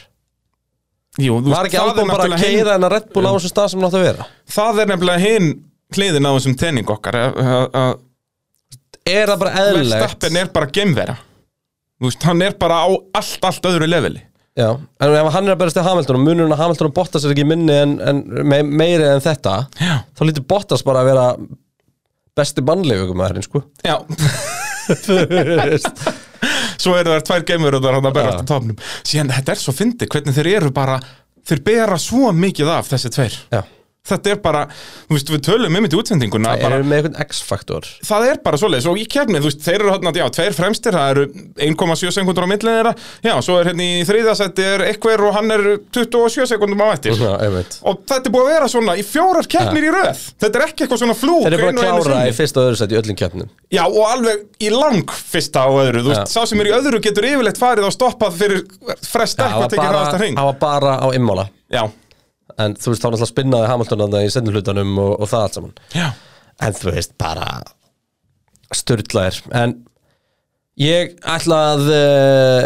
S2: Jú, þú
S1: Var ekki
S2: það er
S1: albúin bara að
S2: náttúrulega
S1: keira en að Red Bull á þessu stað sem hann átt að vera?
S2: hin, Það er nefnilega hinn hliðin á þessum tenning okkar að- að- að
S1: Er það bara eðlilegt?
S2: Verstappen er bara gemvera Þú veist, hann er bara á allt, allt öðru leveli
S1: Já, en ef hann er að berast til Hamilton og munurinn að Hamilton og Bottas er ekki minni en, en me meiri en þetta
S2: Já.
S1: þá lítur Bottas bara að vera besti mannlegu ykkur maðurinn, sko
S2: Já Svo eru þær tvær gemur og það er hann að bera
S1: Já.
S2: allt á topnum Síðan, þetta er svo fyndi, hvernig þeir eru bara Þeir bera svo mikið af þessi tveir
S1: Já,
S2: þetta er bara, þú veist, við tölum einmitt í útsendinguna
S1: Það
S2: bara,
S1: eru með einhvern X-faktor
S2: það er bara svoleiðis og í kefni, þú veist, þeir eru hérna, já, tveir fremstir, það eru 1,7 sekundur á millin þeirra, já, svo er hérna í þriðasætti er eitthver og hann er 27 sekundum á eftir.
S1: Já, einmitt
S2: Og þetta er búið að vera svona í fjórar keppnir í röð. Þetta er ekki eitthvað svona flúk.
S1: Þeir eru bara að
S2: einu og einu
S1: klára
S2: sinni.
S1: í fyrsta og öðru sæti í öllum keppnum
S2: Já, og alveg í lang fyrsta og öðru, þú veist, sá sem er í öðru getur yfirleitt farið og stoppað fyrir fresta
S1: Það
S2: eitthvað
S1: var
S2: tekið
S1: bara,
S2: hraðasta hring.
S1: það var bara á immála
S2: Já,
S1: En þú veist, þá náttúrulega spinnaði Hamilton að það í sendin hlutanum og, og það allt saman
S2: já,
S1: En þú veist, bara Sturlaðir En ég ætla að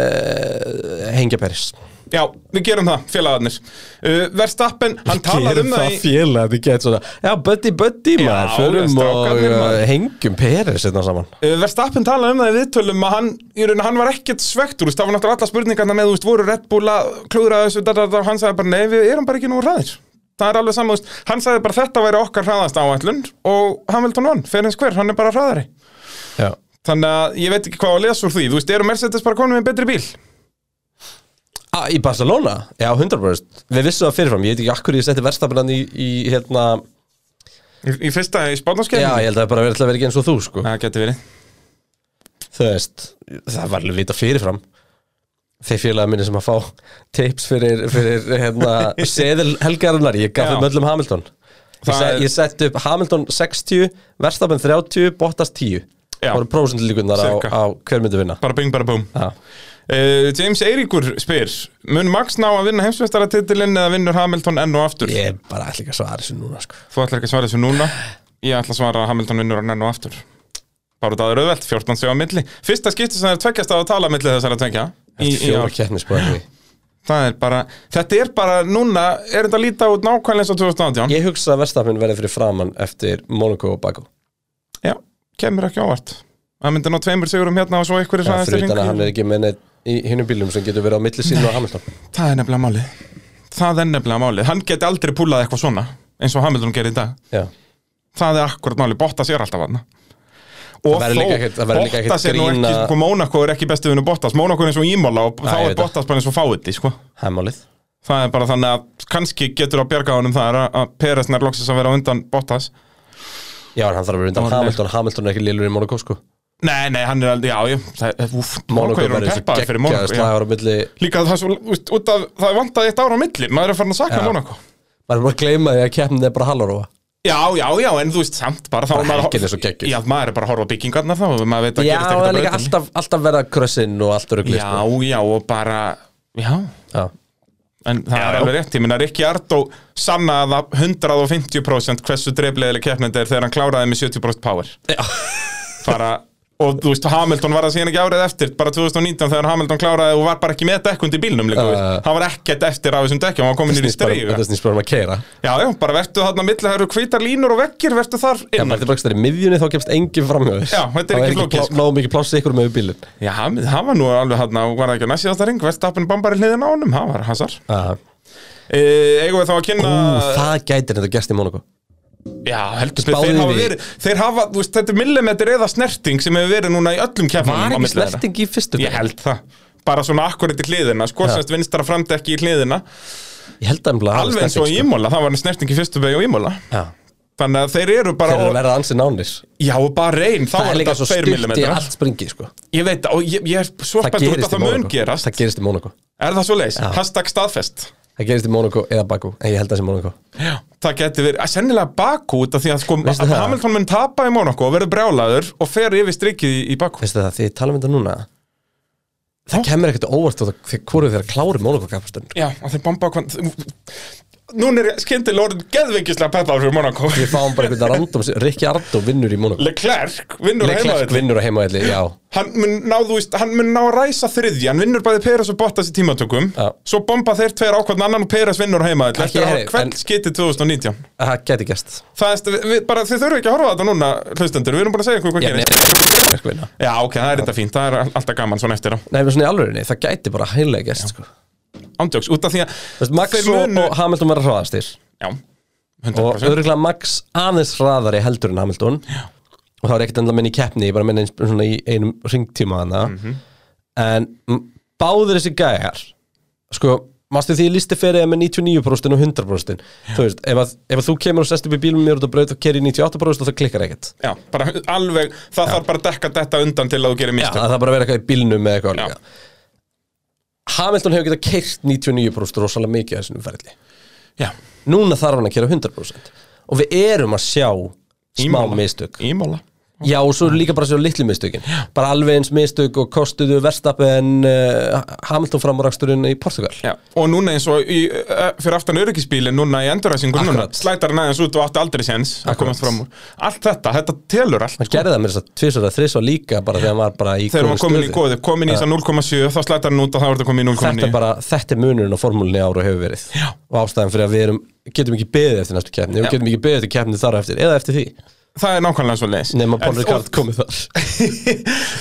S1: uh, hengja Peris
S2: já, við gerum það, félagarnir. Uh, Verstappen, hann talaði um það í...
S1: félag Þetta gett svona Já, buddy, buddy maður Förum og
S2: strákarnir, maður.
S1: uh, hengjum Peris Þetta saman
S2: Uh, Verstappen talaði um það í viðtölum að hann, í raun, hann var ekkert svektur, þú veist, það var náttúrulega alla spurningarna með, þú veist, voru Red Bull að klúðra þessu, da, da, da, hann sagði bara, nei, við erum bara ekki nú hraðir. Það er alveg saman, þú veist, hann sagði bara þetta væri okkar hraðast áætlun og Hamilton vann, fyrir hins hver, hann er bara hraðari.
S1: Já
S2: Þannig að ég veit ekki hvað að lesa úr því, þú veist, eru Mercedes bara konum með betri bíl?
S1: Ah, í Barcelona? Já, 100% Við vissum það fyrirfram, ég veit ekki akkur ég setti verðstafinan í, í hérna
S2: Í, í fyrsta í
S1: Já,
S2: spánarskeið?
S1: ég held að það bara verið að vera ekki eins og þú, sko
S2: Það geti verið.
S1: Þú veist, það var alveg vita fyrirfram Þeir félagar minni sem að fá tips fyrir, fyrir hérna, seðil helgarinnar Ég gaf
S2: Já.
S1: þeim öllum Hamilton Ég,
S2: Það
S1: se,
S2: er-
S1: ég sett upp Hamilton 60, verðstafin 30, Bottas 10
S2: Já.
S1: Það voru prósentlíkunar á,
S2: Cirka.
S1: á hver myndi vinna
S2: Bara bing, bara búm.
S1: Já.
S2: Uh, James Eiríkur spyr, mun Max ná að vinna heimsveistaratitilinn eða vinnur Hamilton enn og aftur?
S1: Ég er bara allir ekki að svara þessu núna, sko
S2: Þú ætlar ekki að svara þessu núna. Ég ætla að svara að Hamilton vinnur hann enn og aftur. Bara út að það er auðvelt, 14 sig á milli. Fyrsta skipti sem það er tveggjast að tala á milli þessara tveggja. Í, í
S1: Fjóra
S2: ár.
S1: keppnisbæði
S2: Það er bara, þetta er bara núna, er þetta að líta út nákvæmlega eins og 2018?
S1: Ég hugsa að verðstafin verði fyrir framann eftir Monaco og Baku
S2: Já, kemur ekki ávart. Það myndi ná tveimur sigurum hérna og svo einhverjir
S1: Já,
S2: hraðastir
S1: fyrir utan að
S2: hringur.
S1: hann er ekki með neitt í hinnum bílum sem getur verið á milli sín og Hamilton
S2: Það er nefnilega málið Það er nefnilega málið, hann geti aldrei púlað eitthvað svona eins og Hamilton gerir í dag
S1: Já,
S2: Það er akkurat málið, Bottas er alltaf aðna Og
S1: verður líka ekkert- það verður líka ekkert
S2: Bottas er nú
S1: grín
S2: ekki,
S1: að-
S2: sko, Mónako er ekki bestið vinnu Bottas Mónako er eins og ímála og
S1: Já,
S2: þá
S1: ég
S2: er
S1: veit það.
S2: Bottas bara eins og fáiði, sko
S1: hæmálið
S2: Það er bara þannig að kannski getur að bjarga honum það er að- að Peres nær loksins að vera á undan Bottas
S1: Já, en hann þarf að vera undan
S2: Árleg.
S1: Hamilton, Hamilton er ekki lillur í Monaco sko
S2: Nei, nei, hann er aldrei, já, já það, úf,
S1: Monaco
S2: Mónako er
S1: verður
S2: hann
S1: eins og
S2: peppaði fyrir
S1: geggjaður
S2: Mónako já.
S1: slagar á milli
S2: Líka það, er svo, úst, út af, það er vantaði eitt ára á milli maður er farin að sakna
S1: Já.
S2: Mónako
S1: Maður er bara að gleyma því að keppnin er bara Hallaróa
S2: Já, já, já, en þú veist samt bara þá
S1: Bara
S2: er maður-
S1: helgin er svo geggjuð.
S2: Já, maður er bara að horfa á byggingarnar þá og maður veit að
S1: Já,
S2: gerist
S1: það er
S2: ekkert á
S1: líka
S2: breytinni
S1: alltaf, alltaf verða krössinn og allt örugli
S2: Já, já, og bara, já
S1: Já.
S2: En það
S1: Já,
S2: er
S1: já.
S2: alveg rétt, ég minna Rikki Ardó sannaða 150% hversu dreifleðileg keppnend er þegar hann kláraði með 70% power
S1: Já.
S2: Bara, og þú veist, Hamilton var það síðan ekki árið eftir bara 2019 þegar Hamilton kláraði og var bara ekki með dekkund í bílnum líka við
S1: Já.
S2: Hann var ekkert eftir á þessum dekkjum, hann var komin
S1: Þetta
S2: í
S1: snýst Uh. bara-
S2: stríðu
S1: Þetta snýst bara um að keira
S2: Já, já, bara vertu þarna milli, það eru hvítar línur og vekkir, vertu þar
S1: Já,
S2: inn
S1: bara þetta brakst þær í miðjunni þá kemst engin framhjóður
S2: Já, þetta er ekki flókið, sko.
S1: Ná mikið pláss ykkur með bílinn
S2: Já, hann- það var nú alveg hann og var það ekki að næst síðasta ring Verstappen bambari hliðin á honum, það var hasar
S1: Já.
S2: e, Eigum við þá að kynna
S1: Ú, Það gætir þetta gerst í Monaco
S2: Já, heldur
S1: Spáðu
S2: betur, þeir
S1: því.
S2: hafa verið Þeir hafa, þú veist, þetta er millimetri eða snerting sem hefur verið núna í öllum kefnum
S1: Var ekki snerting í fyrstu
S2: Ég held það Bara svona akkurat í hliðina, sko,
S1: Já.
S2: semst vinstra framdekki í hliðina
S1: Ég held að
S2: Alveg eins
S1: sko.
S2: og í Ímóla, það var snerting í fyrstu begi og Ímóla
S1: Já
S2: Þannig að þeir eru bara
S1: Þeir eru að
S2: og,
S1: verða ansi nánir
S2: Já, og bara reyn, þá
S1: Það er
S2: er
S1: líka svo
S2: þetta 2
S1: stutt í
S2: millimetrar
S1: allt springi sko.
S2: Ég veit, það, og ég, ég er svo
S1: Það
S2: spennt út að
S1: gerist í
S2: það mun
S1: Monaco
S2: gerast
S1: Það gerist í Monaco
S2: Er það svo leis? Hashtag staðfest
S1: Það gerist í Monaco eða Baku En ég held að það sé Monaco
S2: Já. Það geti verið, að sennilega Baku út af því að sko,
S1: Veistu
S2: að
S1: það?
S2: Hamilton mun tapa í Monaco og verður brjálaður og fer yfir strikið í, í Baku
S1: Veistu það, því ég tala um þetta núna Það kemur ekkert á óvart þótt að Þegar hvoru þeirra klári Monaco kapastun
S2: Já, að þeir bamba hvern Núna er skyndilega orðin geðveikislega peppaður fyrir Monaco
S1: Við fáum bara einhvern random sem- Rikki Ardó vinnur í Monaco
S2: Leclerc vinnur
S1: Leclerc
S2: heimaðið
S1: vinnur á heimaðli Já,
S2: Hann mun, ná, þú veist, hann mun ná að ræsa þriðja Hann vinnur bæði Peres og Bottas í tímatökum
S1: Já.
S2: Svo bomba þeir tveir ákvæðan annan og Peres vinnur heimaðið
S1: Ekki,
S2: Eftir að
S1: heyri,
S2: hafa
S1: en-
S2: hvert skytið 2019
S1: það gæti gerst
S2: Það er, við, við, bara, Þið þurfum ekki að horfa á þetta núna, hlustendur Við erum bara að segja ykkur hvað
S1: Já, nei, sko,
S2: gerist
S1: Leclerc vinna.
S2: Já, ok, það er þetta fínt, það er alltaf gaman svona eftir á
S1: Nei, við svona í alvörinni Það gæti bara heilega gerst sko.
S2: Ándjóks, út af því að
S1: Þú veist, Max
S2: Þeir
S1: og,
S2: munu-
S1: og Hamilton verða hraðastir
S2: Já,
S1: og
S2: 100%
S1: öðruglega Max aðeins hraðari heldur en Hamilton Já. og það er ekkert enda að minna í keppni ég bara minna eins, svona í einum ringtíma hana en m- báðir þessi gæjar sko Mastu því ég listi fyrir með 99% og 100% Þú veist, ef að, ef að þú kemur og sest upp í bílum mér út á braut og keri 98% og það klikkar ekkert
S2: Já, bara alveg, það þarf bara að dekka þetta undan til að þú gerir
S1: Já,
S2: mistök
S1: það þarf bara að vera eitthvað í bílnum með eitthvað
S2: Já.
S1: líka Hamilton hefur getað keirt 99% rosalega mikið af þessum ferli
S2: Já,
S1: Núna þarf hann að kera 100% og við erum að sjá smá
S2: Ímála.
S1: mistök
S2: ímála
S1: Já, og svo er líka bara að sjá litlu mistökin bara alveg eins mistök og kostuðu verstappen uh, Hamilton framúraksturinn í Portugal
S2: Já, og núna eins og í, uh, fyrir aftan öryggisbílin núna í enduræsingu núna
S1: Akkurat.
S2: slætar hann aðeins út og átti aldrei séns að komast fram úr Allt þetta, þetta telur allt
S1: hann gerði það með þess að tvisar að þrisvar líka bara þegar hann var bara í
S2: Þegar
S1: góðu
S2: hann komin í
S1: stöðu.
S2: góðu, komin í þess að 0,7 þá slætar hann út og þá er þetta komin í 0,9
S1: þetta er bara, þetta er munurinn á formúlinni ára hefur verið
S2: Já.
S1: og ástæðan fyrir að við erum, getum ekki beðið eftir næstu keppni við
S2: Já.
S1: getum ekki beðið eftir keppni þar á eftir eða eftir því
S2: Það er nákvæmlega svo leis
S1: nema Paul Ricard komið þar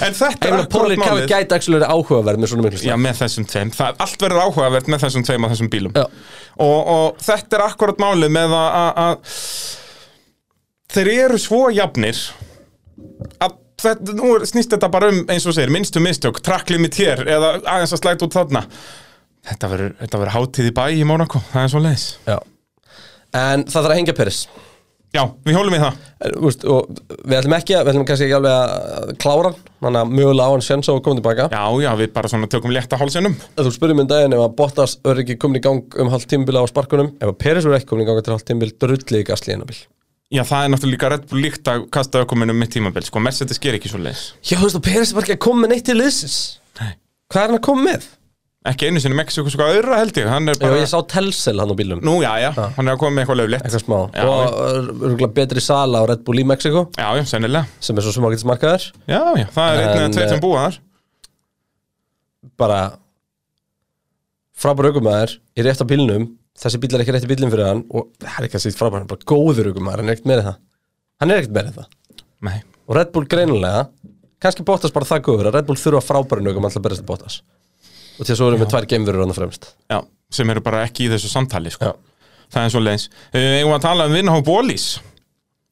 S2: En þetta er
S1: eða Paul
S2: akkurat
S1: Ricard
S2: málið
S1: gæti actually verið áhugaverð með svona miklu
S2: Já,
S1: slag
S2: með þessum tveim, það, allt verður áhugavert með þessum tveim á þessum bílum
S1: Já.
S2: og, og þetta er akkurat málið með að, að, að þeir eru svo jafnir að þetta, nú er- snýst þetta bara um eins og þú segir, minnstu mistök, track limit hér eða aðeins að slæta út þarna Þetta verður, þetta verður hátíð í bæ í Mónakó, það er svo leis
S1: Já. en það þarf að hengja Peris
S2: Já, við hólum í það
S1: En, þú veist, og við ætlum ekki að, við ætlum kannski ekki alveg að klára hann, þannig að mögulega á hann sjens á að koma tilbaka
S2: Já, já, við bara svona tökum létta hálsinum
S1: þú spurðum minn daginn ef að Bottas verður ekki komin í gang um hálft tímbila á sparkunum ef að Peris verður ekki komin í gang til hálft tímbil drullið í gasli hennar bíl
S2: Já, það er náttúrulega líka redd líkt að kasta ökumennum mitt tímabil, sko, Mercedes ger ekki svo leis
S1: Já, þú veist, og Peres var ekki að koma með neitt til liðsins
S2: Nei.
S1: Hvað er hann að koma með?
S2: Ekki einu sinni Mexiko sko öðra held ég, hann er
S1: Já,
S2: bara
S1: ég sá Telcel hann á bílum
S2: Nú, já, já, hann er að koma með eitthvað löflegt
S1: Eitthvað smá
S2: Já,
S1: Og örgulega betri sala á Red Bull í Mexiko
S2: já, já, sennilega
S1: sem er svo sem ágætis markaður
S2: Já, já, það er einn
S1: En,
S2: eða tveir sem
S1: eh,
S2: búa þar
S1: bara frábær aukumæður í rétt á bílnum þessi bíl er ekki rétti bílinn fyrir hann og það er ekki að segja frábær, hann er bara góður aukumæður hann er ekkert meira en það hann er ekkert meira en það
S2: Nei,
S1: og Red Bull greinilega kannski Bottas bara það góður að Red Bull þurfa frábærin aukum alltaf berist að Bottas og til að svo erum við tvær geimverur hann fremst
S2: já, sem eru bara ekki í þessu samtali, sko
S1: Já.
S2: Það er svo leiðis Eigum við að tala um vinnahóp Ólís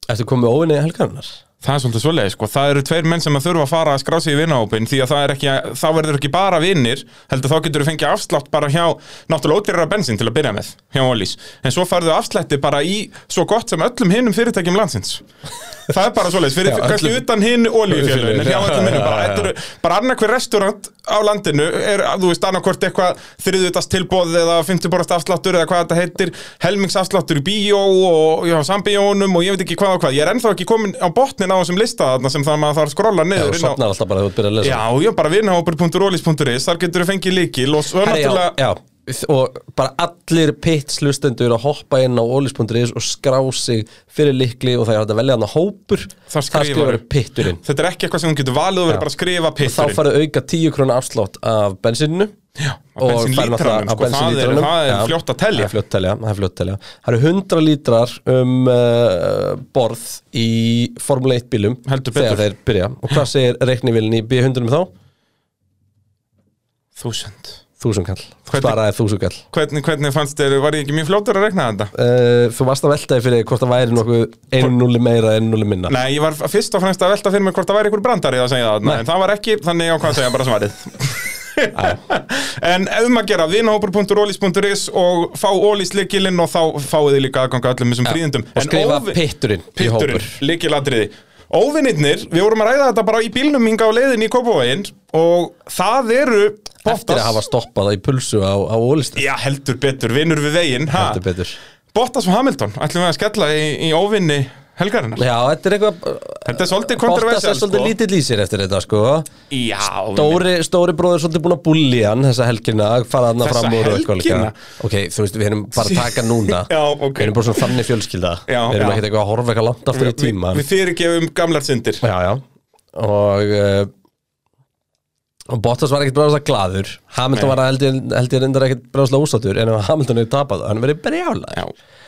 S1: Ertu komið óvinni helgarinnar?
S2: Það er svolítið svoleiðis, sko, það eru tveir menn sem að þurfa að fara að skrá sig í vinnahópin því að það er ekki, þá verður ekki bara vinnir heldur þá getur þú fengið afslátt bara hjá náttúrulega ódýrara bensin til að byrja með hjá Ólís, en svo farðu afslætti bara í svo gott sem öllum hinnum fyrirtækjum landsins það er bara svoleiðis, fyrir
S1: Já,
S2: kannski
S1: öllum-
S2: utan hinn ólíufjörðun, en hjá öllum hinnum
S1: Já,
S2: bara,
S1: já, já.
S2: þetta eru- bara annarkver restaurant á landinu er, þú veist, annarkvort eitthvað þriðutast tilbóð eða 50% afsláttur eða hvað þetta heitir, helmingsafsláttur í bíó og já, sambíónum og ég veit ekki hvað og hvað, ég er ennþá ekki komin á botnin á þessum lista þarna sem það maður þarf að skrolla
S1: Já,
S2: niður inn á
S1: sopnar alltaf bara þegar þú ert byrjað að lesa
S2: Já, já, bara vinnahópur.rólis.is, þar getur þú fengið líkil og svo
S1: Herri,
S2: náttúrulega
S1: já, já, og bara allir pits lustendur að hoppa inn á olis.is og skrá sig fyrir likli og það er hægt að velja hann að hópur
S2: Þar
S1: þar
S2: skrifarðu.
S1: skrifar pitturinn
S2: Þetta er ekki eitthvað sem hún getur valið og verður
S1: Já.
S2: bara að skrifa
S1: þá
S2: pitturinn
S1: farið auka 10 krónu afslátt af bensininu
S2: Já, á
S1: og fær náttúrulega- af
S2: bensinlítranum, sko, það er,
S1: bensínlítrunum.
S2: það er
S1: Já,
S2: fljótt að telja
S1: það er fljótt að telja, það er fljótt að telja það eru 100 lítrar um uh, borð í Formule 1 bílum
S2: Heldur
S1: þegar
S2: betur.
S1: þeir byrja og hvað segir reiknivilin í B100 þá?
S2: Þúsund
S1: Þúsund kall,
S2: Hvernig-
S1: sparaði þúsund kall
S2: Hvernig, hvernig fannst þér, var ég ekki mjög fljótur að rekna þetta?
S1: uh, Þú varst að veltaði fyrir þér hvort það væri nokkuð einu núli meira en núli minna
S2: Nei, ég var fyrst og fremst að velta fyrir mig hvort það væri ykkur brandari að segja það, en það var ekki, þannig ég ákvað að segja bara svarið. en um að gera vinahópur.ólís.is og fá ólís likilinn og þá fáið þið líka aðganga öllum þessum fríðendum.
S1: og skrifa pitturinn í hópur
S2: Pitturinn, likilatriði. Óvinnirnir, við vorum að ræða þetta bara í bílnum hinga á leiðin í Kópavóin og það eru
S1: eftir að hafa stoppað það í pulsu á, á ólistu
S2: Já, heldur betur, vinnur við veginn ha?
S1: heldur betur
S2: Bottas og Hamilton, ætlum við að skella í, í óvinni helgarinnar
S1: Já, þetta er eitthvað
S2: Þetta er svolítið
S1: Bottas er
S2: kontroversial sko.
S1: svolítið lítill í sér eftir þetta sko
S2: Já,
S1: Stóri, stóri bróður er svolítið búin að bulli hann þessa helgina, fara hann
S2: Þessa
S1: fram úr og eitthvað líka.
S2: helgina?
S1: Ok, þú veist, við erum bara að taka núna
S2: Já, ok.
S1: Við erum bara svona þannig fjölskylda
S2: Já,
S1: Við erum
S2: já.
S1: ekkert eitthvað að horfa eitthvað langt aftur í tíma
S2: Við fyrirgefum gamlar syndir
S1: Já, já Og uh, Og Bottas var ekkert bráðslega gladur Hamilton
S2: Nei.
S1: var held ég, held ég reyndar ekkert bráðslega úsátur En ef Hamilton hefur tapað, hann verið brjála
S2: Já.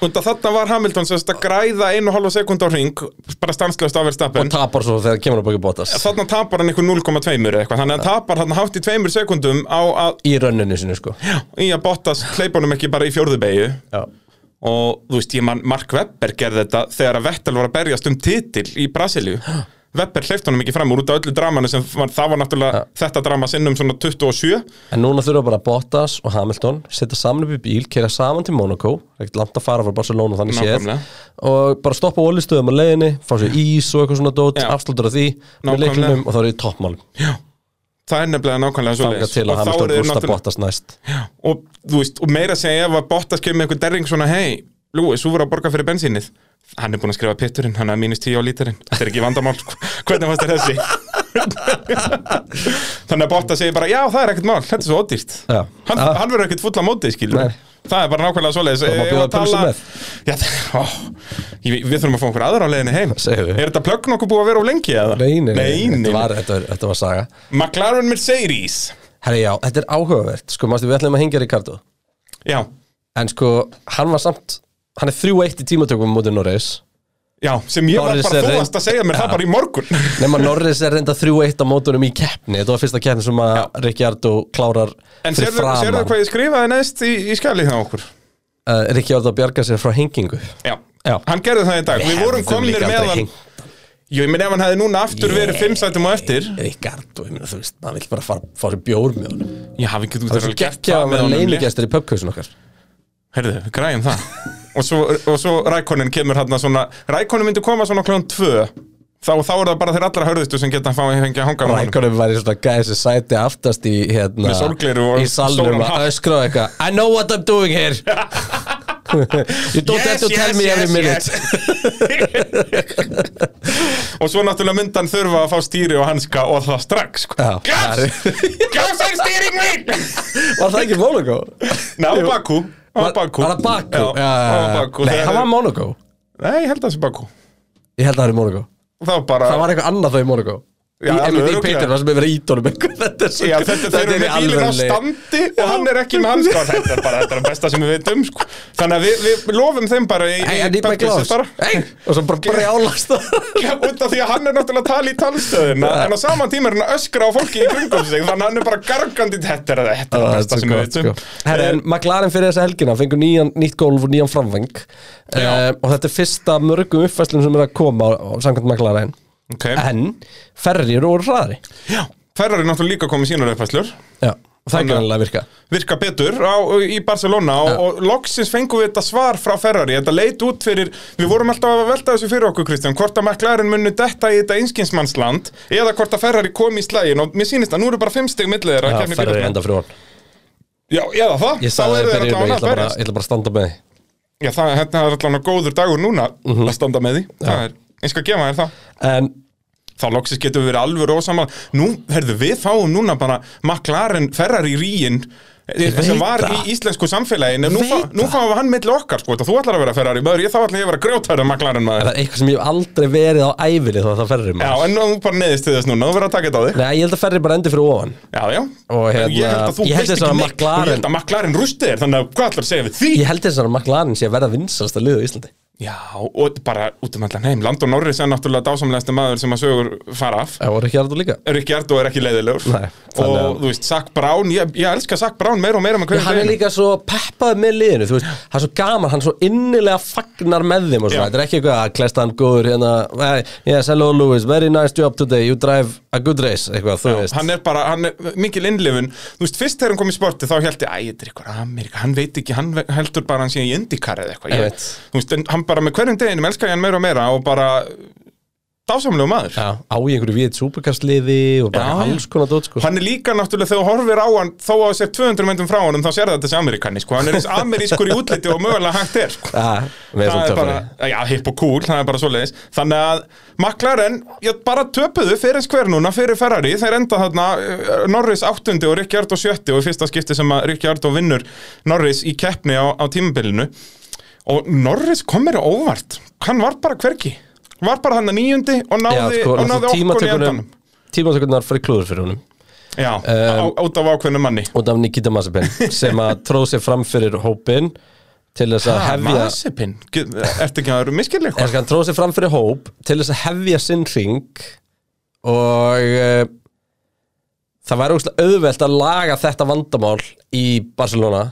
S2: Undan þarna var Hamilton sérst að græða einu og halva sekund á ring bara stanslöst af verðstappen
S1: Og tapar svo þegar kemur á baki Bottas
S2: Þarna tapar hann einhver 0,2 eða eitthvað þannig að hann tapar hann hátt í tveimur sekundum á að,
S1: Í rönninu sinu, sko Já,
S2: í að Bottas hleypunum ekki bara í fjórðu beigju
S1: já,
S2: og þú veist, ég man Mark Webber gerði þetta þegar að Vettel var að berjast um titil í Brasilíu Webber hleyft honum ekki fram úr út af öllu dramanu sem var, það var náttúrulega þetta drama sinnum svona 27
S1: En núna þurfa bara Bottas og Hamilton setja saman upp í bíl, kera saman til Monaco ekkert langt að fara frá Barcelona þannig séð
S2: Nákvæmlega.
S1: og bara stoppa ólistöðum á leiðinni fá sér ís og eitthvað svona dót,
S2: Já.
S1: afslutur af því með
S2: Nákvæmlega.
S1: leiklunum og þá er ég toppmálum
S2: það er nefnilega nákvæmlega svo
S1: þangað til að Hamilton rústa Bottas næst
S2: og, þú veist, og meira að segja ef að Bottas kemur með eitthvað derring svona hei, Lúi, svo voru að borga fyrir bensínið hann er búin að skrifa pitturinn, hann er mínus 10 á líturinn þetta er ekki vandamál, sko. hvernig fannst þér þessi þannig að Bottas segir bara, já það er ekkert mál, þetta er svo ódýrt
S1: Já.
S2: hann,
S1: Ah.
S2: hann verður ekkert fulla mótið skilur
S1: Nei.
S2: það er bara nákvæmlega svoleiðis
S1: má
S2: Ef
S1: bjóða
S2: að tala-
S1: pulsu með.
S2: já, ó, ég, við þurfum að fá einhver aðra á leiðinni heim
S1: Segðu.
S2: er þetta plögg nokkuð búið að vera á lengi? eða?
S1: þetta var, þetta var, þetta var saga
S2: McLaren Mercedes
S1: Herri já, þetta er áhugavert, sko, mástu við ætlum að hengja Ricardo
S2: já,
S1: en sko, hann var samt hann er 3-1 í tímatökum mútið Norris
S2: já, sem ég
S1: Norris
S2: var
S1: er
S2: bara
S1: reynd-
S2: þóast að segja mér það bara í morgun
S1: Nefna Norris er reynda 3-1 á mótunum í keppni Þetta var fyrsta keppni sem að Ricciardo klárar
S2: En
S1: fyrir
S2: sérðu,
S1: framan
S2: sérðu hvað ég skrifaði neðst í, í skjalið hjá okkur?
S1: uh, Ricciardo bjarga sér frá hengingu
S2: Já.
S1: Já.
S2: Hann gerði það í dag. Við vorum
S1: hefðum
S2: komnir
S1: líka
S2: með
S1: aldrei
S2: hann.
S1: hengt.
S2: Jú, ég minn ef hann hefði núna aftur verið fimm sætum á eftir.
S1: Ricciardo, ég meina þú veist, maður vill bara fara, fá sér bjór með honum
S2: Ég hafi ekki út
S1: Það er svo geggja að vera leinigestur í pubkausin okkar
S2: Herðu, við græjum það. og svo, og svo Rækonin kemur hann svona, Rækonin myndi koma svona klón tvö. Þá, þá er það bara þeir allra hörðustu sem geta að fá að hengja að hanga á hann.
S1: Rækonum var í svona gæði sem sæti aftast í hérna
S2: Með sólgleru og
S1: Í salnum
S2: stóran hatt.
S1: að öskra og eitthvað I know what I'm doing here You don't have to tell me every minute
S2: og svo náttúrulega myndi hann þurfa að fá stýri og hanska og það strax sko.
S1: Já,
S2: Gafs! Gafs er stýring mín!
S1: Var það ekki Monaco?
S2: Nei, á
S1: Jú.
S2: Bakú Á
S1: Var
S2: Bakú
S1: var það Bakú?
S2: Já, á Bakú
S1: Nei,
S2: Þegar-
S1: það var Monaco
S2: Nei, ég held að það sé Bakú
S1: Ég held að það er Monaco
S2: Það var bara
S1: Það var eitthvað annað þá í Monaco
S2: Já,
S1: Í
S2: alveg
S1: MD
S2: örugglega.
S1: Peter var sem hefur verið ítónum Þetta er svo
S2: Já, þetta, þeir eru
S1: í
S2: með bílinn á
S1: alvörunni.
S2: standi og hann er ekki með hans Þetta er bara, þetta er að besta sem við veitum sko. Þannig að við, við lofum þeim bara í,
S1: Hey, I
S2: í
S1: need my gloves
S2: bara.
S1: Hey, Og svo bara brjálast það
S2: Já, út af því að hann er náttúrulega að tala í talstöðuna en á saman tíma er hann að öskra á fólki í kringum sig þannig að hann er bara gargandi þetta er
S1: Ó,
S2: þetta er að
S1: þetta
S2: besta
S1: er
S2: sem við
S1: gott,
S2: veitum
S1: sko. Herra, en McLaren fyrir þessa helgina fengur nýjan, nýtt gólf og nýjan framveng uh, og þetta er fyrsta mörgum uppfæslum sem er að koma á, á samkvæmt McLaren
S2: Ok.
S1: en ferri eru úr hraðari
S2: Já, Ferrari er náttúrulega líka komið sínar uppfæslur
S1: Já, og það er
S2: Þannig að-
S1: grannlega að virka
S2: virka betur á, í Barcelona og, og loksins fengum við þetta svar frá Ferrari þetta leit út fyrir, við vorum alltaf að velta þessu fyrir okkur Kristján, hvort að McLaren munnu detta í þetta einskinsmannsland eða hvort að Ferrari kom í slægin og mér sýnist að nú eru bara fimm stig millið þeirra að
S1: Já,
S2: kemni
S1: ferri
S2: bílarna
S1: enda fyrir hann
S2: Já, eða það,
S1: Ég
S2: þá
S1: sagði
S2: eru
S1: það
S2: þeir
S1: fyrir
S2: allavega
S1: ég
S2: að
S1: ætla bara,
S2: berjast.
S1: ég ætla bara að standa með því
S2: Já, það hérna er allavega góður dagur núna
S1: Mhm.
S2: að standa með því, það er, ég skal gefa þér það
S1: En
S2: þá loksins getum við verið alveg rósamma nú, herðu, við fáum núna bara McLaren Ferrari ríin sem
S1: veit
S2: var
S1: það.
S2: í íslensku samfélagin nú,
S1: Veit
S2: fá, nú
S1: það.
S2: fáum við hann milli okkar sko, þú ætlar að vera Ferrari maður, ég þá ætla ég að vera grjótæri McLaren
S1: það
S2: maður
S1: er eitthvað sem ég hef aldrei verið á ævinni þá að það um ferri
S2: Já,
S1: maður
S2: en nú bara neðist til þess núna, þú verður að taka þetta á þig
S1: Nei, ég held að ferri bara endi fyrir ofan
S2: Já, já,
S1: Og hérna,
S2: ég held að þú
S1: ég held
S2: veist
S1: þess að
S2: ekki neitt
S1: McLaren-
S2: og ég held að McLaren rusti þér, þannig að hvað ætlar að segja við því?
S1: Ég held þess að McLaren sé að verða vinsalasta liðu í Íslandi
S2: Já, og bara út um allan heim Landon Norris er náttúrulega dásamlegasti maður sem að sögur fara af
S1: Það voru ekki aðra líka
S2: Rikki Ardó er ekki leiðilegur
S1: Nei,
S2: og
S1: þannig að-
S2: þú veist, Zach Brown, ég, ég elska Zach Brown meira og meira
S1: Já,
S2: með hverjum
S1: hann er
S2: deginum.
S1: líka svo peppaður með liðinu, þú veist Hann er svo gaman, hann er svo innilega fagnar með þeim og
S2: Já.
S1: svona Þetta er ekki eitthvað að klesta hann góður hérna "Hey, Yes, hello Lewis, very nice job today, you drive a good race Eitthvað, þú veist
S2: hann er bara, hann er mikil innlifun þú veist, fyrst þegar hann kom í sporti þá held ég æ, þetta er ykkur Amerika, hann veit ekki, hann ve- heldur bara hann sé í Indikar eða eitthvað
S1: Ég
S2: Ég-
S1: veit.
S2: þú veist, en hann bara með hverjum deginum elskar ég hann meira og meira og bara dásamlegu maður
S1: Já, á í einhverju við superkarsliði og bara
S2: Já, já.
S1: alls konar dót, sko
S2: Hann er líka náttúrulega þegar þú horfir á hann þó að sér 200 myndum frá honum þá sér þetta þessi amerikani sko. hann er eins amerískur í útliti og mögulega hægt er sko.
S1: Já, með
S2: það
S1: svona
S2: er bara,
S1: töffari
S2: já, hipp og cool, það er bara svoleiðis þannig að McLaren, ég bara töpuðu fyrir skver núna, fyrir Ferrari þeir enda þarna, eh, Norris 8. og Ricciardo 7. og í fyrsta skipti sem að Ricciardo vinnur Norris í keppni á, á tímabilinu og Norris kom mér á óvart, hann var bara hverki var bara hann að nýjundi og
S1: Já,
S2: náði,
S1: sko,
S2: og náði okkon í
S1: tímatökunum
S2: endanum
S1: Tímatökunar fyrir klúður fyrir honum
S2: já,
S1: Eh,
S2: um, út af ákveðnu manni
S1: út af Nikita Mazepin sem að tróð sér fram fyrir hópin til þess að hefja Eh.
S2: Masipin, ertu ekki að vera
S1: eða
S2: miskilið eitthvað?
S1: skal hann tróð sér fram fyrir hóp til þess að hefja sinn ring og uh, það væri ógstlega auðvelt að laga þetta vandamál í Barcelona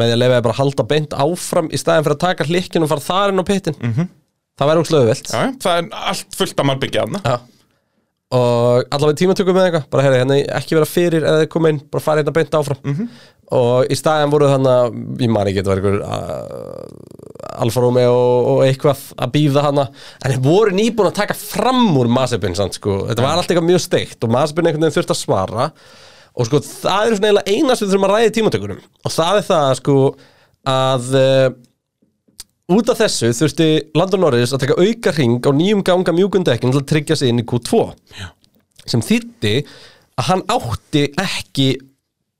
S1: með því að leifa þér bara að halda beint áfram í staðin fyrir að taka hlikkinu og fara þar inn á pittin það væri úkslega auðvelt
S2: Já, já, það er allt fullt að maður byggja þarna
S1: Já. og allavega tímatökum með eitthvað bara heyrðu, hérna ekki vera fyrir eða koma inn bara fara hérna beint áfram og í staðan voru þannig ég man ekki þetta var einhver uh, Alfa Romeo og, og eitthvað að býða hana en þeir voru nýbúin að taka fram úr Mazepin sant, sko. þetta var allt eitthvað mjög steikt og Mazepin einhvern veginn þurfti að svara og sko það er svona eiginlega eina sem við þurfum að ræða í tímatökunum og það er það sko að uh, Út af þessu þurfti Landon Norris að taka auka ring á nýjum ganga mjúkundekkin til að tryggja sig inn í Q2 Já. sem þýtti að hann átti ekki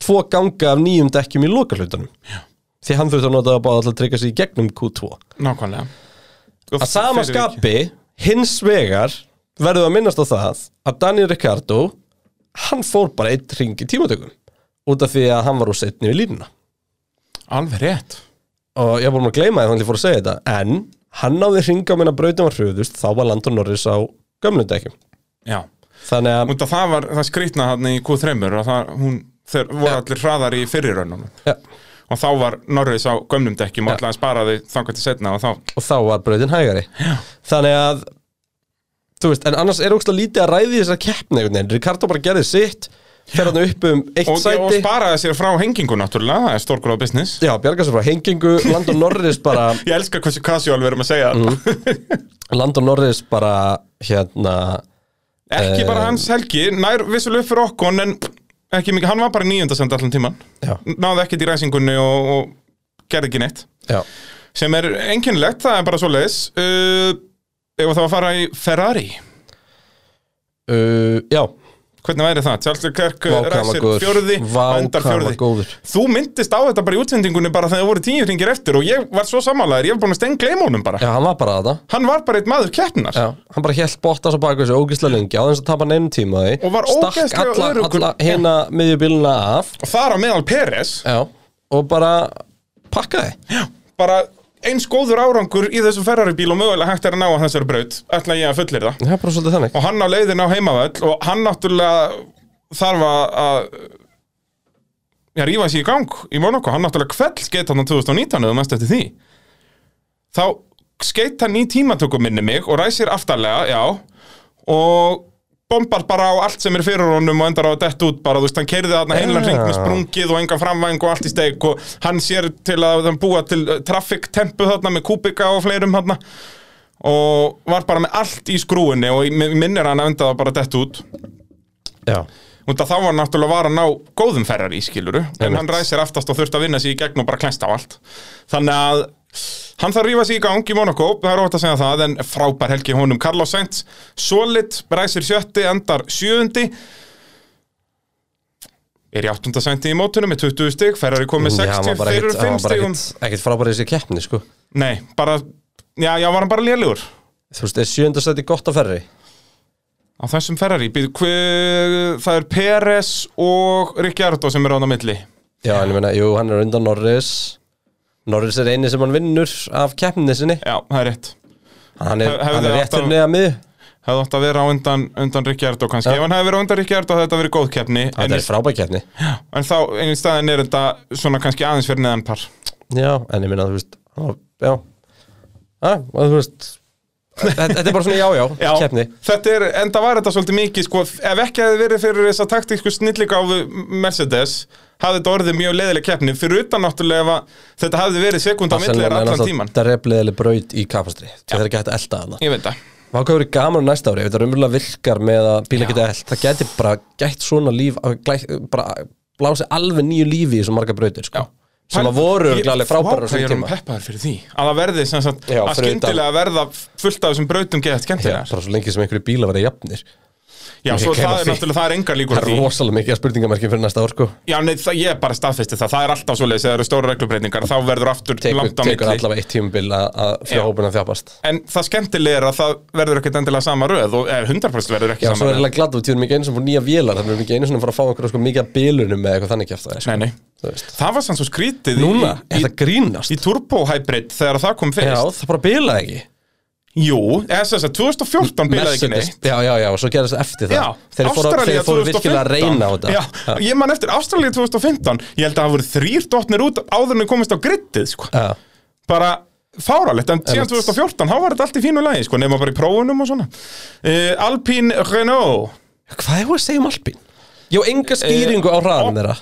S1: tvo ganga af nýjum dekkjum í lokalutanum Já. því hann þurfti að nota það bara til að tryggja sig í gegnum Q2
S2: Nákvæmlega Sko,
S1: að sama
S2: fyrir vikið.
S1: skapi hins vegar verðum við að minnast á það að Daniel Ricciardo hann fór bara eitt ring í tímatökum út af því að hann var úr setni við línuna
S2: Alveg rétt
S1: og ég var búin að gleyma því þannig að ég fór að segja þetta en hann náði hringa á minna brautum var hröðust þá var Landon Norris á gömlundekjum
S2: Já
S1: þannig að
S2: Út af það var það skrýtna hann í Q3 og það, hún, þeir voru
S1: Já.
S2: allir hraðar í fyrirraunum
S1: ja,
S2: og þá var Norris á gömlum dekkjum og ætlaði að spara því þangað til setna og þá
S1: og þá var brautin hægari Já. þannig að þú veist, en annars er ógst lítið að ræði þessar keppni einhvern veginn, Ricardo bara gerði sitt fer hann upp um eitt
S2: og, og
S1: sæti
S2: sparaði sér frá hengingu náttúrulega, það er stórgróða business
S1: Já, bjarga sér frá hengingu, Landon Norris bara Mhm.
S2: Ég elska hversu casual við erum að segja mm.
S1: Landon Norris bara hérna,
S2: Ekki bara hans helgi, nær vissulega upp fyrir okkur en ekki mikið, hann var bara nýjunda senda allan tíman
S1: Já.
S2: Náði ekkert í ræsingunni og, og gerði ekki neitt
S1: já,
S2: sem er einkennilegt, það er bara svo leiðis uh, Ef það var að fara í Ferrari
S1: uh, já
S2: Hvernig væri það? Charles Leclerc
S1: Vá, hvað hann var
S2: ræsir
S1: góður.
S2: fjörði,
S1: Vá,
S2: endar
S1: hvað hann var
S2: fjörði
S1: góður.
S2: Þú myndist á þetta bara í útsendingunni bara þegar það voru tíu ringir eftir og ég var svo sammálaður, ég var búin að stein gleyma honum bara
S1: Já, hann var bara að það
S2: Hann var bara eitt maður keppnar
S1: Já, hann bara hélt Bottas á baku þessu ógislega lengi á þess að tapa neinum tíma því
S2: Og var ógeðslega
S1: alla,
S2: öruggur.
S1: alla hérna miðjubíluna af
S2: og þar á meðal Peres
S1: Já, og bara pakkaði
S2: bara eins góður árangur í þessu Ferrari bíl og mögulega hægt er að ná að þessari braut ætla ég að fullir það
S1: Það er bara svolítið þannig
S2: og hann á leiðin á heimavöll og hann náttúrulega þarf að að- já, rífa sér í gang í Monaco, hann náttúrulega kveld skeitt hann á 2019 eða mest eftir því þá skeitt hann í tímatökum minni mig og ræsir aftarlega, já og bombar bara á allt sem er fyrir honum og endar á að detta út bara, þú veist, hann keirði þarna heilan
S1: Já.
S2: hring með sprungið og engan framvæng og allt í steik og hann sér til að hann búa til traffic tempu þarna með kúbika og fleirum þarna og var bara með allt í skrúinni og ég- mig minnir að hann að enda það bara dett út
S1: Já,
S2: og það þá var náttúrulega var að ná góðum ferrar í skiluru en
S1: Einmitt.
S2: hann ræsir aftast og þurft að vinna sig í gegn og bara klænst á allt þannig að hann þarf að rífa sig í gang í Monaco það er ótt að segja það en frábær helgi hjá honum Carlos Sainz, solid, ræsir sjötti endar sjöundi er í áttunda sændi í mótunum með 20 stig, ferrar í komið
S1: Já, hann
S2: 60
S1: var bara
S2: fyrir
S1: ekkit, hann
S2: 5
S1: var bara
S2: stigum
S1: ekkit, ekkit frábæri þessi keppni sko
S2: nei, bara, já, já, var hann bara lélugur
S1: Þú veist, er sjöndasæti gott að ferri?
S2: Á þessum Ferrari, býðu, hver, það er Peres og Ricciardo sem eru á það milli.
S1: Já, en ég meina, jú, hann er undan Norris Norris er eini sem hann vinnur af keppninni sinni
S2: Já, það er rétt.
S1: Hann er,
S2: Hef- hefði
S1: hann er
S2: átt
S1: réttur
S2: að-
S1: neða miðju
S2: Hefði átt að vera á undan, undan Ricciardo kannski.
S1: Já.
S2: Ef hann hefði verið á undan Ricciardo hefði þetta verið góð keppni. En,
S1: Þetta er frábæri keppni
S2: en þá, en í staðin er þetta svona kannski aðeins fyrir neðan par.
S1: Já, en ég minna, þú veist á- Já, já, og þú veist Þetta þetta er bara svona já-já, keppni
S2: þetta er, enda var þetta svolítið mikið, sko, ef ekki hefði verið fyrir þessa taktísku snilligáfu Mercedes, hafði þetta orðið mjög leiðileg keppni, fyrir utan náttúrulega ef að þetta hafði verið sekund á milli allan tíman.
S1: Það er repleðileg braut í kapastri Það er ekki hægt að elda hana
S2: Ég veit það.
S1: Vá hvað verið gaman á næsta ári, ef þetta raunverulega virkar með að bíla geta eld Það gæti bara gætt svona líf að glæ- bara blási alveg nýju lífi í svo marga brautir sko. sem að voru
S2: Ég-
S1: örugglega alveg
S2: Vá,
S1: frábærar á
S2: hvað
S1: svona
S2: ég er um
S1: tíma
S2: peppaður fyrir því Að það verði sem sagt
S1: Já,
S2: Að
S1: fyrir utan-
S2: skyndilega verða fullt af þessum brautum geðað
S1: Já,
S2: skemmtilegar Já,
S1: bara svo lengi sem einhverju bíla verið jafnir ég
S2: svo
S1: kem
S2: það
S1: að
S2: er
S1: því.
S2: náttúrulega, það er engar líkur á
S1: Það
S2: því
S1: er rosalega mikið að spurningamarki fyrir næsta ár sko.
S2: Já, nei, það, ég er bara staðfesti það Það er alltaf svoleiðis, þegar það eru stóra reglubreitingar Þá verður aftur
S1: Tekur,
S2: langt á
S1: tekur
S2: milli
S1: allavega eitt tímubil að að
S2: Já.
S1: fyrir hópuna þjápast
S2: En það skemmtilega er að það verður ekkert endilega sama röð Og eh, 100% verður ekki
S1: Já, svo
S2: sama
S1: er
S2: röð
S1: eiginlega glatt og við erum ekki einu sem fór nýja vélar þannig við erum ekki einu sem fór að fá einhverja sko mikið að bilunum eða eitthvað þannig kjæft það
S2: Nei, nei
S1: Þú veist.
S2: Það var sann svo skrítið í-
S1: Núna,
S2: í,
S1: er það grínast?
S2: í Turbo Hybrid þegar það kom
S1: Já,
S2: fyrst
S1: það bara bilaði ekki
S2: Jú, SS, 2014 bilaði ekki
S1: Mercedes-
S2: neitt
S1: Já, já, já, og svo gerðist eftir það
S2: Já,
S1: Þeir fóru,
S2: Ástralía
S1: þeir fóru virkilega að reyna á
S2: 2015
S1: þetta
S2: Já, ég man eftir Ástralía 2015 Ég held að það voru þrýr dotnir út áður en þau komist á grittið sko.
S1: Já.
S2: Bara fáralegt, en síðan
S1: Einmitt.
S2: 2014 þá var þetta allt í fínu lagi, sko, nema bara í prófunum og svona uh, Alpine Renault
S1: Hvað er það að segja um Alpín? Ég á
S2: Eh,
S1: enga skýringu á hraðan þeirra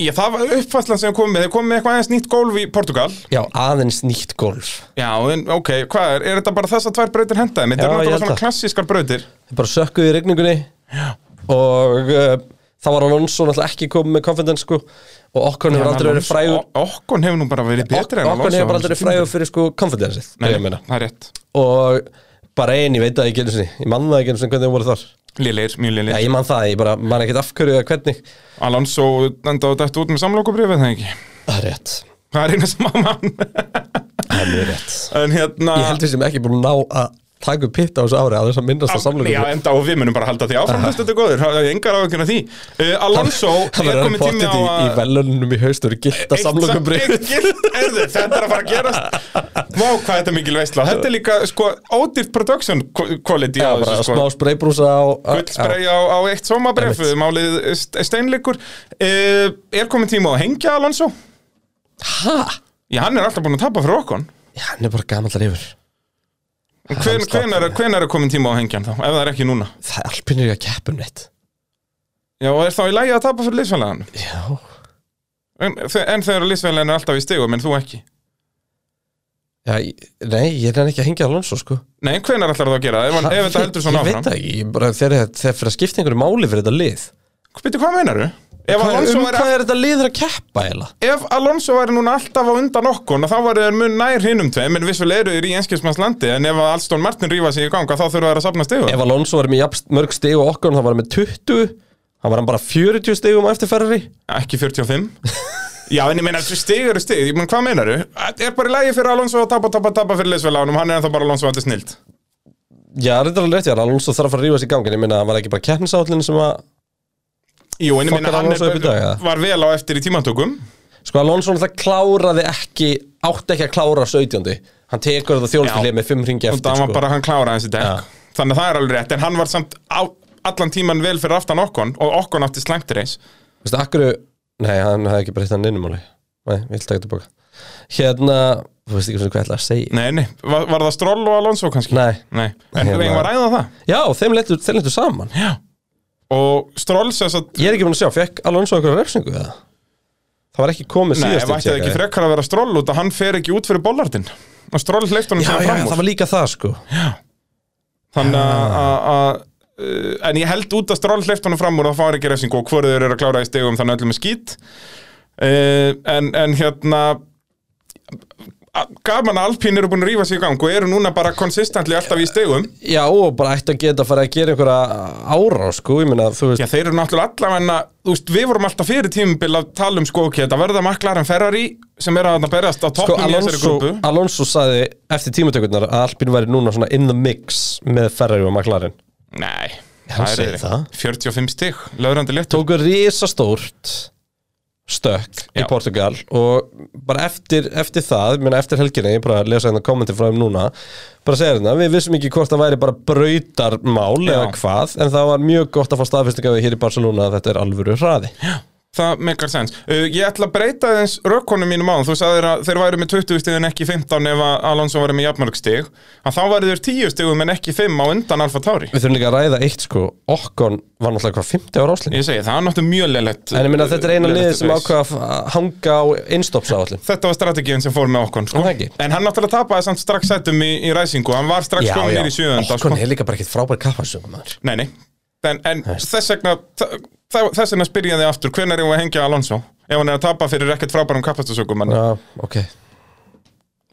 S2: Já, það var uppfæslan sem kom með, þeir kom með eitthvað aðeins nýtt gólf í Portugal
S1: Já, aðeins nýtt golf
S2: Já, en ok, hvað er, er þetta bara þess að tvær brautir hendaði? Þetta
S1: Já,
S2: eru
S1: ég
S2: náttúrulega
S1: held
S2: svona
S1: það.
S2: klassískar brautir
S1: Þeir bara sökkuðu í regningunni Já. og uh, það var Alonso náttúrulega ekki komið með confidence sko og okkur hefur aldrei verið frægur
S2: Okkon hefur nú bara verið betri en
S1: okkur
S2: Alonso
S1: hefur
S2: á
S1: aldrei verið
S2: þessu
S1: frægur fyrir sko confidence
S2: Nei, það er rétt
S1: og bara ein, ég veit það ekki einu sinni ég man það ekki einu sinni hvernig þau voru þar
S2: Léleir,
S1: Já,
S2: mjög léleir
S1: ég man það, ég bara man ekkert af hverju eða hvernig
S2: Alonso enda á dættu út með samlokubrifið, það ekki
S1: Það er rétt,
S2: Það er eina sem að mann
S1: það er mjög rétt
S2: En hérna
S1: Ég held við sem ekki búin að ná að taka upp pitt á þessu ári að þess að minnast að samlöku
S2: Ah, Já, enda og við munum bara halda því áfram Þetta er góður, það er engar áhyggjur af því uh, Alonso,
S1: Það
S2: er
S1: verður hann
S2: komið tími
S1: pottet í,
S2: á
S1: í
S2: að
S1: velunum í haust og eru gilt að
S2: Eitt
S1: samlöku breyð
S2: eitt gilt, heyrðu, Þetta er að fara að gerast Vá, hvað þetta er mikil veistla Þetta er líka, sko, ódýrt production quality á
S1: bara
S2: þessu, sko
S1: smá spreybrúsa og
S2: Gullsprey á, á eitt sómabref
S1: Einmitt.
S2: Málið st- steinleikur uh, Er komið tíma á að hengja Alonso?
S1: Hæ?
S2: Já, hann er alltaf búin að tapa fyrir okkur
S1: Já, hann er bara gamallar yfir
S2: Hven, hven, er, hven er komin tíma á að hengja hann þá? Ef það er ekki núna
S1: Það er alpinn er ekki að keppum neitt
S2: Já, og er þá í lagi að tapa fyrir liðsfælaðan?
S1: Já
S2: En, þe- en þegar liðsfélagin er alltaf í stigum en þú ekki
S1: Já, ég- nei, ég er hann ekki að hengja Alonso sko
S2: Nei, hvenær ætlar það að gera? það? Ef, hann- ef þetta heldur svona
S1: Ég veit
S2: áfram
S1: það ekki, ég bara, þegar þetta- þegar fyrir að skipta einhverju máli fyrir þetta lið
S2: Býttu, hvað meinar þú? Ef,
S1: Hvað er-
S2: Alonso
S1: Um hvað
S2: væri-
S1: er þetta lið að keppa eiginlega?
S2: ef Alonso væri núna alltaf á undan okkur þá væri þeir mun nær hinum tveim en vissulega eru þeir í enskilsmannslandi en ef að Alston Martin rýfa sig í ganga þá þurfa þeir að safna stigum
S1: Ef Alonso var með jafn mörg stig og okkur þá var hann með 20 hann var hann bara 40 stigum á eftir Ferrari
S2: Ekki 45 Já, en ég meina, stig eru stig, ég meina, hvað meinar þú? Er bara í lagi fyrir Alonso að tapa, tapa, tapa fyrir liðsfélagunum, hann er ennþá bara Alonso að þetta er snilt
S1: Já, þetta er alveg rétt, já, Alonso þarf að fara að rífa sig í gangin ég meina, hann var ekki bara keppnisállin sem að
S2: Jú, en ég meina,
S1: Fokkar
S2: hann
S1: Alonso upp í dag,
S2: er,
S1: eða?
S2: var vel á eftir í tímantökum
S1: Sko Alonso það kláraði ekki átti ekki að klára 17. Hann tekur þetta þjónustuhlið
S2: Já.
S1: með 5 ringi
S2: og það
S1: eftir sko.
S2: var bara hann kláraði þessi dekk þannig að það er alveg rétt, en hann var samt á, allan tíman vel fyrir aftan okkon og okkon átti slæmt reis
S1: Vistu, akkur Nei, hann hefði ekki breytt hann innumáli Nei, ég vil taka þetta bóka Hérna, þú veist ekki svona hvað ég ætla að segja
S2: nei, nei, var, var það Stroll og Alonso kannski?
S1: Nei.
S2: en
S1: Hérna.
S2: við var ræða það
S1: Já, þeim letur, þeim letur saman
S2: Já. og Stroll sem sagt
S1: Ég er ekki búin að sjá, fekk Alonso einhverja refsingu eða? Það var ekki komið
S2: nei,
S1: síðast
S2: vætti það ekki frekar að vera Stroll út að hann fer ekki út fyrir bollardin og Stroll hleyft honum
S1: Já, já,
S2: síðan fram úr.
S1: það var líka það sko
S2: þannig að- að að- uh, en ég held út að Stroll hleyft honum fram úr það fáir ekki refsing og hvort þeir eru að klára í stegum þannig að öllum er skýt uh, en, en hérna a- gaman að Alpín eru búin að rífa sig í gang og eru núna bara konsistentli alltaf í stegum
S1: Já, og bara ætti að geta að fara að gera einhverja árá sko Ég meina, þú veist
S2: Já, þeir eru náttúrulega allavegna, þú veist, við vorum alltaf fyrir tímubil að tala um sko, ok, þetta verða maklar en Ferrari sem er að þarna berjast á
S1: Sko,
S2: toppnum í þessari
S1: Alonso,
S2: grúpu.
S1: Alonso saði eftir tímatökurnar að Alpine væri núna svona in the mix með Ferrari og McLaren
S2: Nei,
S1: Hann
S2: það er
S1: segir
S2: ekki.
S1: það.
S2: 45 stig, löðrandi léttur.
S1: tóku risastórt stökk í
S2: Já.
S1: Portugal og bara eftir, eftir það, minna eftir helginni ég bara að lesa hérna kommenti frá þeim núna bara segja hérna, við vissum ekki hvort það væri bara brautarmál eða
S2: Já.
S1: hvað en það var mjög gott að fá staðfestingaði hér í Barcelona að þetta er alvöru hraði
S2: Það meikar sens. Uh, ég ætla að breyta þess rökkonum mínum áðan. Þú sagðir að þeir væri með 20 stig en ekki 15 ef að Alonso væri með jafnmörg stig. Að þá væri þeir 10 stigum en ekki 5 á undan Alfa Tauri.
S1: við þurfum líka að ræða eitt sko, Okkon var náttúrulega hvað 50 ára áslinn
S2: Ég segi, það er náttúrulega mjög leilett.
S1: en ég minna þetta er eina liðið sem ákvað að hanga á einstoppsáallin
S2: Þetta var strategíin sem fór með okkur sko.
S1: Er það ekki?
S2: En hann náttúrulega tapaði samt strax settum í, í ræsingu Hann var strax komin nýr í sjöðunda
S1: Okkon er líka bara ekkert frábær kapparsöngum
S2: Nei, nei En, en þess vegna þa- þa- Þess vegna spyrjaði aftur Hvenær er hún að hengja Alonso? Ef hann er að tapa fyrir ekkert frábærum kapastasökum ja.
S1: Já, ok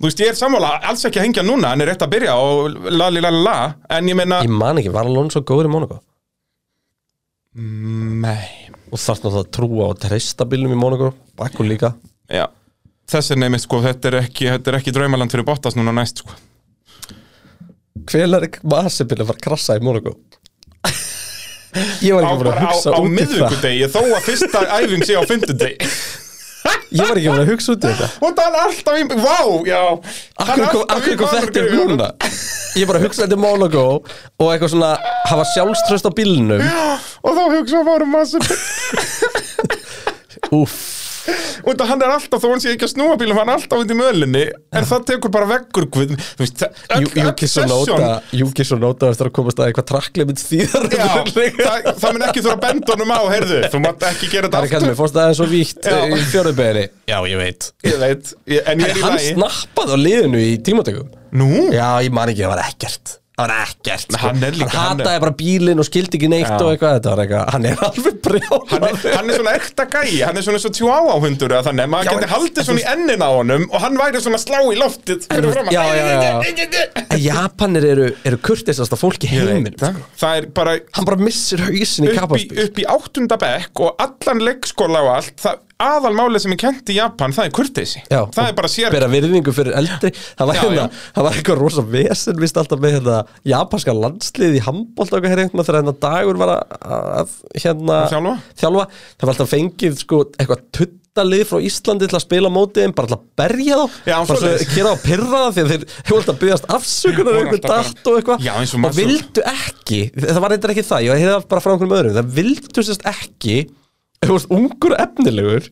S2: Þú veist, ég er sammála Alls ekki að hengja núna Hann er rétt að byrja og la li la la la En ég meina
S1: Ég man ekki, var Alonso góður í Monaco?
S2: Nei
S1: Og þarf náttúrulega að trúa á treystabilnum í Monaco Bakku líka
S2: Já Þess er neymið sko Þetta er ekki, þetta er ekki draumaland fyrir Bottas núna næst sko
S1: Hvenar Masipil var að krassa í Monaco? Ég var
S2: Á,
S1: ekki búin að
S2: bara á,
S1: hugsa
S2: á
S1: út í það
S2: miðvikudegi Þó að fyrsta æfing sé á fimmtudegi
S1: Ég var ekki búin að hugsa út í þetta
S2: Og það er alltaf í Vá, já Hann er
S1: Akkur kom,
S2: alltaf
S1: akkur
S2: í
S1: kom þetta er
S2: maðurgryfjunum.
S1: núna Ég bara hugsaði þetta í Monaco Og eitthvað svona, hafa sjálfströst á bílnum
S2: um Og þá hugsa að fara massa
S1: Úff
S2: og þetta hann er alltaf, þó hann sé ekki að snúa bílum hann er alltaf út í mölinni, en það tekur bara veggur guð, þú veist, það- öll, öll
S1: Júkis og
S2: session
S1: Nóta Júkis og Nóta eftir að komast að eitthvað tracklimit þýðar
S2: Já, það, það mun ekki þurfa að benda honum á, heyrðu, þú mátt ekki gera
S1: Það er
S2: þetta
S1: kannski mér fórst aðeins svo víkt
S2: Já.
S1: í fjörðubeginni Já, ég veit
S2: ég veit, ég, en ég er í
S1: Hann
S2: lagi
S1: snappaði á liðinu í tímatökum
S2: Nú,
S1: Já, ég man ekki, það var ekkert Það var ekkert sko.
S2: hann er líka- hann
S1: Hann
S2: er-
S1: hataði bara bílinn og skildi ekki neitt
S2: Já.
S1: og eitthvað Þetta var eitthvað Hann er alveg brjál
S2: hann er, hann er svona ekta gæi, hann er svona svo tjóáa hundur eða þannig, maður
S1: Já,
S2: geti
S1: en-
S2: haldið svona í ennin á honum og hann væri svona að slá í loftið fyrir fram
S1: Já, já, já Japanir eru, eru kurtisasta fólk í heiminum sko.
S2: það. það er bara
S1: Hann bara missir hausin í
S2: upp í,
S1: kapparspil
S2: upp í áttunda bekk og allan leikskóla og allt, það, aðalmálið sem er kent í Japan, það er kurteisi
S1: Já,
S2: það er bara sér,
S1: Bera virðingu fyrir eldri Það var,
S2: Já,
S1: hérna,
S2: já.
S1: það var eitthvað rosa vesen Vist alltaf með hérna, japanska landslið í handbólt og eitthvað hér einhvern Þegar hérna dagur var að, að hérna,
S2: Þjálfa?
S1: Það var alltaf fengið sko, eitthvað tuttalið frá Íslandi til að spila mótið Bara alltaf að berja þá
S2: Já,
S1: Bara svo
S2: svoleiðis.
S1: að gera á pyrra það Því að þeir hefur alltaf byggðast afsökunar
S2: Voru
S1: Einhver
S2: alltaf bara-
S1: dart og eitthvað
S2: Já, eins og
S1: og
S2: maður-
S1: vildu ekki Það var eitthvað ekki það, ég hefði bara frá einhverjum öðrum Það vildu sérst ekki Ef þú varst ungur og efnilegur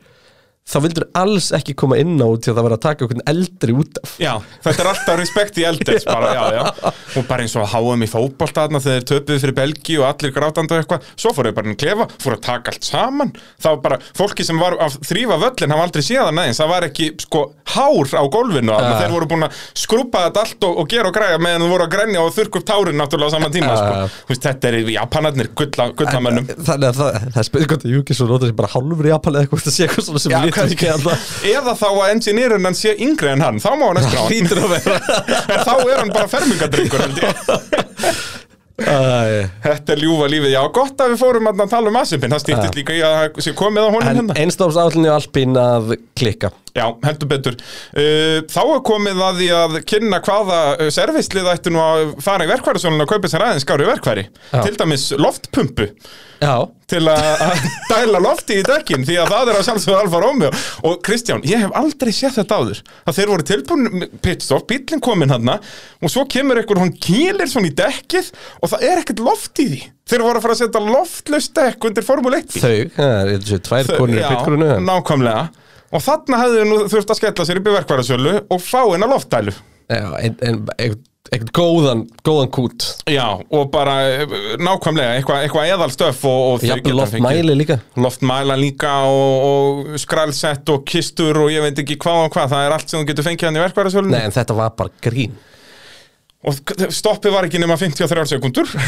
S1: þá vildur alls ekki koma inn á til að það var að taka okkur eldri út af
S2: já, þetta er alltaf respekt í eldins bara, já, já, og bara eins og að háa um í fótbolta þarna þegar þeir töpuðu fyrir Belgi og allir grátandi og eitthvað, svo fóruðu bara inn í klefa fóru að taka allt saman, þá bara fólki sem var að þrýfa völlin, hann var aldrei séðan aðeins, það var ekki sko hár á gólfinu, uh. þeir voru búin að skrúpa þetta allt og, og gera og græja meðan þú voru að grænja og þurrku upp tárin náttúrulega á sama tíma,
S1: Ah.
S2: sko. Þú veist, þetta er japanarnir gulla, gullamönnum
S1: Eh, þannig að það, það spyrir hvort að Júkis og Róta sem bara hálfur í Japan eða hvort það sé eitthvað svona sem
S2: Já,
S1: við lítum
S2: kannski.
S1: ekki alltaf
S2: Eða þá að engineerinn hann sé yngri en hann Þá má hann öskra á hann
S1: hlýtur að vera
S2: En þá er hann bara fermingadrengur held ég.
S1: Æ.
S2: Þetta er ljúfa lífið Já, gott að við fórum þarna að tala um Asimpin Það stýttist líka í að það sé komið á honum
S1: en
S2: hérna
S1: einstáms állinni alpín að klikka
S2: Já, heldur betur Uh, Þá er komið að því að kynna hvaða uh, servislið ættu nú að fara í verkværisjónun og kaupa sér aðeins skári verkværi
S1: Já.
S2: Til dæmis loftpumpu
S1: já,
S2: til að að dæla lofti í dekkin því að það er að sjálfsögðu Alfa Romeo og Kristján, ég hef aldrei séð þetta áður að þeir voru tilbúin pitstop, bílinn kominn hann og svo kemur einhver, hann kýlir svona í dekkið og það er ekkert loft í því þeir voru að fara að setja loftlaust dekk undir Formule 1
S1: þau, eh, það er þessu tvær konur í
S2: Já,
S1: pitgrunu en-
S2: nákvæmlega og þarna hefðu nú þurft að skella sér upp í verkvarasölu og fá hennar loftdælu
S1: já, en, en eitthvað eitthvað góðan, góðan kút
S2: Já, og bara eh, nákvæmlega eitthvað eitthva eðalstöf og, og þau
S1: jafnvel
S2: geta
S1: loft
S2: fengið-
S1: mæli líka
S2: loftmæla líka og, og skrælsett og kistur og ég veit ekki hvað og hvað það er allt sem þú getur fengið hann í verkværasölunni
S1: nei, en þetta var bara grín
S2: og k- stoppi var ekki nema 53 sekundur en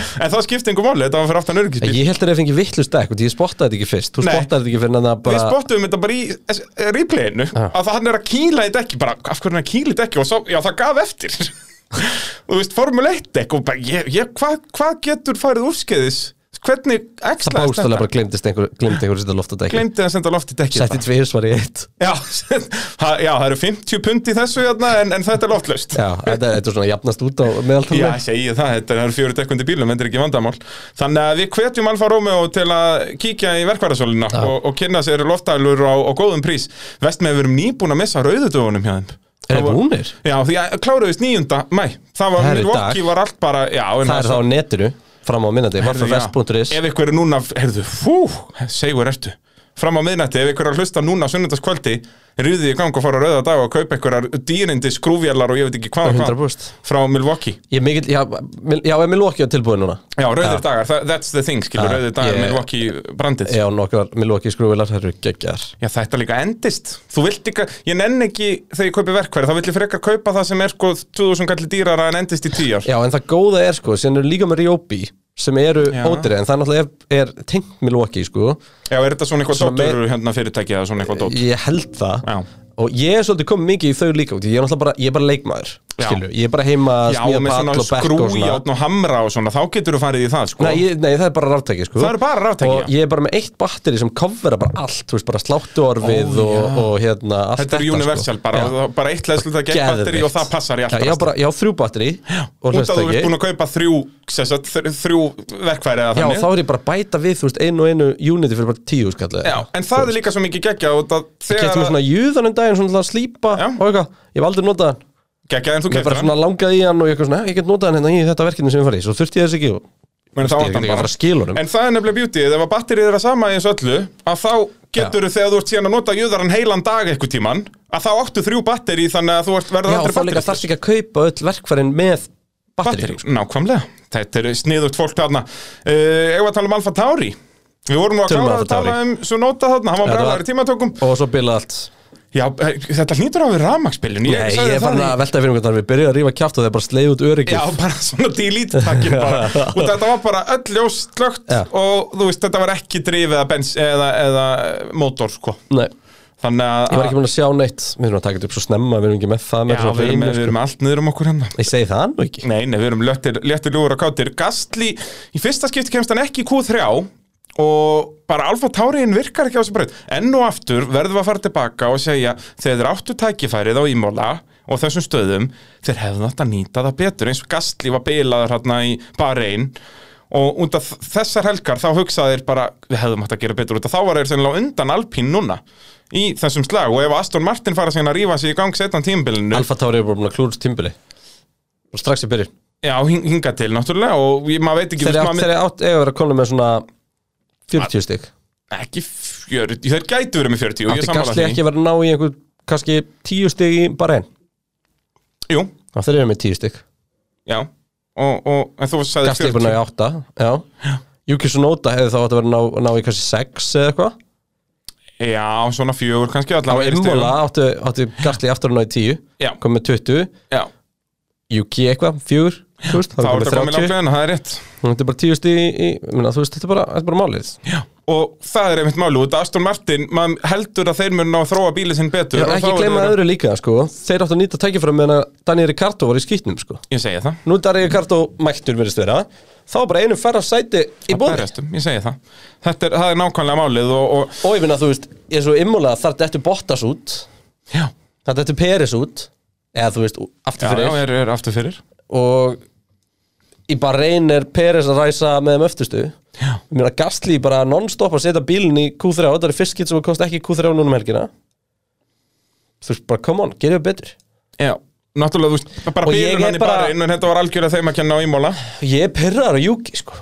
S2: það skipti engum máli, þetta var fyrir aftan örgisbíl
S1: ég held að það fengi vittlust dekk og því ég spottaði þetta ekki fyrst þú
S2: Nei.
S1: spottaði þetta ekki fyrir en það
S2: Við
S1: bara
S2: spottum þetta bara í s- replayinu að það hann er að kýla í dekki bara, af hverju er hann að kýla í dekki og svo, já það gaf eftir og þú veist, Formule 1 dekk og bara, ég, ég, hvað hva getur farið úrskeiðis hvernig
S1: það
S2: ekslaðist
S1: bóstalega bara glemdist einhver, glemdi einhver að setja loftadekki
S2: glemdi að senda loft í dekki
S1: Setti tvísvar í eitt
S2: Já, það- já, það eru 50 pund í þessu hérna, en, en þetta er loftlaust
S1: Já, þetta er þetta er svona jafnast út á meðaltalni
S2: Já, ég segi það, þetta eru fjóru dekkundi bílum, þetta er ekki vandamál Þannig að við hvetjum Alfa Romeo til að kíkja í verkvarðasöluna og, og kynna sér loftælur á, á góðum prís Vest með við erum nýbúin að missa rauðutöfunum hjá þeim
S1: Er það
S2: Það var-
S1: búnir?
S2: Já, því að kláruðist 9. mæ Það var,
S1: Það er í
S2: Milwaukee
S1: dag.
S2: var allt bara já, um en
S1: Það er
S2: svo-
S1: það á netinu, fram á minnandi Varfafest.is
S2: Já, Ef ykkur er núna, heyrðu, fú, segur ertu Fram á miðnætti, ef ykkur er að hlusta núna á sunnundaskvöldi Rýðið í gang og fara á rauða dag og kaupa ykkurar dýrindi skrúfjallar og ég veit ekki hvað og hvað
S1: 100%.
S2: Frá Milwaukee
S1: Ég er mikill, já, mil- já, er Milwaukee á tilbúið núna
S2: Já, rauðir dagar, tha- that's the thing, skilur,
S1: Já,
S2: rauðir dagar,
S1: ég-
S2: Milwaukee brandið
S1: Já, nokkar Milwaukee skrúvilar, það eru geggjar
S2: Já, þetta líka endist Þú vilt ekki, ég nenn ekki þegar ég kaupi verkfæri Þá vill ég frekar kaupa það sem er sko 2000 kallir dýrara en endist í 10 ár
S1: Já, en það góða er sko, sem eru líka með Ryobi sem eru
S2: Já.
S1: ódýri, en það náttúrulega er, er tengt Milwaukee sko
S2: Já, er þetta svona eitthvað
S1: Svona meir-
S2: dóttur hérna fyrirtæki eða svona eitthvað dótt
S1: Ég held það
S2: Já.
S1: Og ég er svolítið komið mikið í þau líka út Ég er náttúrulega bara, ég er bara leikmaður
S2: Já.
S1: skilju. Ég er bara heima að
S2: Já,
S1: smíða
S2: með
S1: pall
S2: svona
S1: og bekk og svona
S2: skrújátn og hamra og svona, þá getur þú farið í það, sko
S1: Nei, ég, nei, það er bara ráftæki sko.
S2: Það eru bara raftæki,
S1: Og
S2: já.
S1: ég er bara með eitt batteri sem covera bara allt Þú veist, bara sláttuorfið
S2: Ó,
S1: og, og hérna allt
S2: Þetta er universal, bara,
S1: Já.
S2: og bara eitt leðslu það gegn batteri
S1: Geðveikt.
S2: og það passar í allt
S1: Já, ég á bara, ég á þrjú batteri og
S2: Út að þú ert
S1: hlustæki
S2: búin að kaupa þrjú, sem sagt, þr- þrjú verkfæri eða
S1: Já,
S2: þannig
S1: þá er ég bara að bæta við, þú veist, einu og einu uniti fyrir bara tíu skallið
S2: Já, en það er líka svo mikið geggja og það
S1: Kæfti
S2: þegar
S1: mér svona júðan um daginn, svona til að slípa
S2: Já.
S1: og eitthvað Ég hef aldrei notað hann
S2: geggja en þú
S1: Ég
S2: keftir
S1: bara
S2: hann
S1: svona langaði í hann og ég eitthvað svona "Eh, Ég get notað hann hérna í þetta verkefni sem ég farið Svo þurfti ég þess ekki og
S2: Men þá
S1: Ég
S2: átti
S1: get
S2: hann
S1: ekki að
S2: bara
S1: fara að skila honum
S2: En það er nefnilega bjútið, ef að batterið er að sama eins og öllu að þá getur þegar þú ert síðan að nota jöðaran heilan dag eitthvað tíman að þá áttu þrjú batteri þannig að þú ert verður
S1: Já,
S2: aldrei
S1: þá líka
S2: batterist.
S1: þarfst ekki að kaupa öll verkfærin með batteri
S2: Batterí, nákvæmlega, þetta er sniðugt fólk þarna uh, Ef að tala um Alfa Tauri Við vorum nú að
S1: Tölum
S2: klára
S1: Alpha
S2: að tala
S1: Tauri.
S2: um Sunota þarna, hann var
S1: Þetta
S2: bráðar í tímatökum
S1: Og svo bila allt
S2: Já, eh, þetta hlýtur á við rafmaksbillun
S1: Nei, ég er farin að velta fyrir einhvern veginn Við byrjuðum að rífa kjátt og þeir bara sleið út öryggið
S2: Já, bara svona delete takkin bara og þetta var bara öll ljós slögt
S1: Já.
S2: og þú veist, þetta var ekki drifið eða, bens, eða, eða mótor, sko
S1: Nei,
S2: Þannig að
S1: ég var ekki sko. búin að sjá neitt Við erum að taka þetta upp svo snemma, við erum ekki með það
S2: Já,
S1: með svona
S2: við erum,
S1: hreinu,
S2: við erum með allt niður um okkur hérna
S1: sko. Ég segi það nú ekki
S2: Nei, nei, við erum léttir, léttir ljúur og kátir Gastli, í fyrsta skipti kemst hann ekki í Q3 og bara Alfa Tauriinn virkar ekki á þessu braut enn og aftur verðum við að fara tilbaka og segja þegar þeir áttu tækifærið á Ímóla og þessum stöðum þeir hefðu þetta nýta það betur eins og Gastli var bilaður hérna í Bahrein og út af þessar helgar þá hugsaði þeir bara við hefðum hægt að gera betur út af þá var þeir sennilega á undan Alpín núna í þessum slag og ef Aston Martin fara síðan að rífa sig í gang setna tímabilinu
S1: Alfa Tauri er bara búin að klúrst tímbili Og strax í byrjun
S2: Já, hing- hingað til náttúrulega og ég- maður veit ekki
S1: Þeir
S2: veist,
S1: átt,
S2: maður-
S1: þeir átt eða verið að koma með svona 40 stygg
S2: ekki 40, þeir gætu verið með 40 og ég
S1: Átti
S2: sammála
S1: Gasli
S2: því
S1: ekki verið að ná í einhver kannski 10 stygg í bara einn
S2: Jú,
S1: Þeir eru með 10 stygg
S2: já og, og, en þú sagði
S1: Gasli er búin að ná í 8 Já Juki Sunoda hefði þá átt að vera að ná, ná í kannski 6 eða eitthvað
S2: Já, svona fjögur kannski
S1: á
S2: allavega í
S1: Imola
S2: stigum.
S1: áttu, áttu Gartli aftur hann á í 10
S2: Já.
S1: kom með 20,
S2: Já,
S1: Juki eitthvað 4, þú veist,
S2: þá
S1: það
S2: er
S1: kom með
S2: þetta komin
S1: 30
S2: ákveðin, það er rétt
S1: hún er bara 10 stig í, í minna, þú veist, þetta er bara, þetta er bara málið
S2: Já. Og það er einmitt málu, út af Aston Martin maður heldur að þeir mun ná að þróa bílið sinn betur
S1: Já,
S2: og þá
S1: ekki
S2: eru
S1: gleyma
S2: þeir-
S1: öðru líka, sko þeir áttu að nýta tækifæra meðan að Daniel Ricardo var í skýtnum, sko
S2: Ég segi það
S1: nú er Daniel Ricardo mættur verðist vera þá er bara einum færra sæti í
S2: Það
S1: bóði
S2: berjastum, Ég segi það Þetta er, það er nákvæmlega málið og, og
S1: og ég finna, þú veist, ég er svo immulega þar þetta Bottas út,
S2: Já,
S1: þar þetta Peres út eða þú veist,
S2: já,
S1: aftur
S2: já,
S1: fyrir
S2: er, er aftur fyrir
S1: og í Bahrein er Peres að ræsa með þeim öftustu
S2: Já.
S1: ég meina Gasly bara non-stop að setja bílinn í Q3 þetta er fyrst skitt sem að kosta ekki Q3 núna um helgina þú veist bara come on, gerðu betur
S2: Já, náttúrulega, þú veist, bara
S1: Og ég
S2: bílun
S1: er
S2: hann í
S1: bara-
S2: bara en þetta var algjörlega þeim að kenna á ímóla
S1: ég er perrar á Juki sko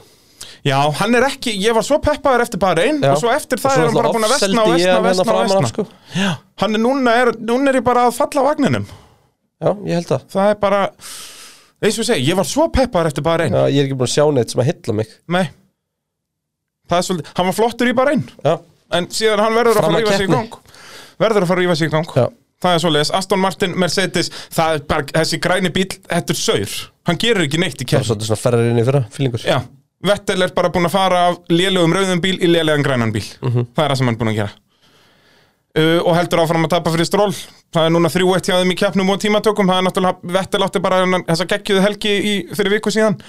S2: Já, hann er ekki, ég var svo peppaður eftir bara einn
S1: Já.
S2: og svo eftir það
S1: svo
S2: er hann bara
S1: alltaf
S2: búin að vesna og
S1: offseldi ég hann hérna
S2: vesna og vesna og
S1: framan
S2: vesna
S1: af, sko.
S2: Já, hann er núna, er, núna er ég bara að falla á vagninum
S1: já, ég held það
S2: Það er bara, eins og ég segi, ég var svo peppaður eftir bara einn
S1: já, ég er ekki búin að sjá neitt sem að hitla mig
S2: Nei, það er svolítið, hann var flottur í bara einn
S1: já,
S2: En síðan hann verður að fara
S1: Fram
S2: að
S1: að
S2: rífa sig í
S1: keppni.
S2: gang Verður að fara að rífa sig í gang
S1: Já.
S2: Það er svolítið, Aston Martin, Mercedes, það er bara, þessi græni bíl, þetta er saur Hann gerir ekki neitt
S1: það
S2: í
S1: er
S2: keppni
S1: svolítið svona ferrar inn í fyrra fílingur
S2: Já, Vettel er bara búin að fara af lélegum rauðum bíl í lélegan grænan bíl Það er það sem hann er búin að gera uh, Og heldur áfram að tapa fyrir stról Það er núna 3-1 hjá þeim í keppnum og tímatökum Það er náttúrulega, Vettel átti bara þennan- þessa geggjuðu helgi í, fyrir viku síðan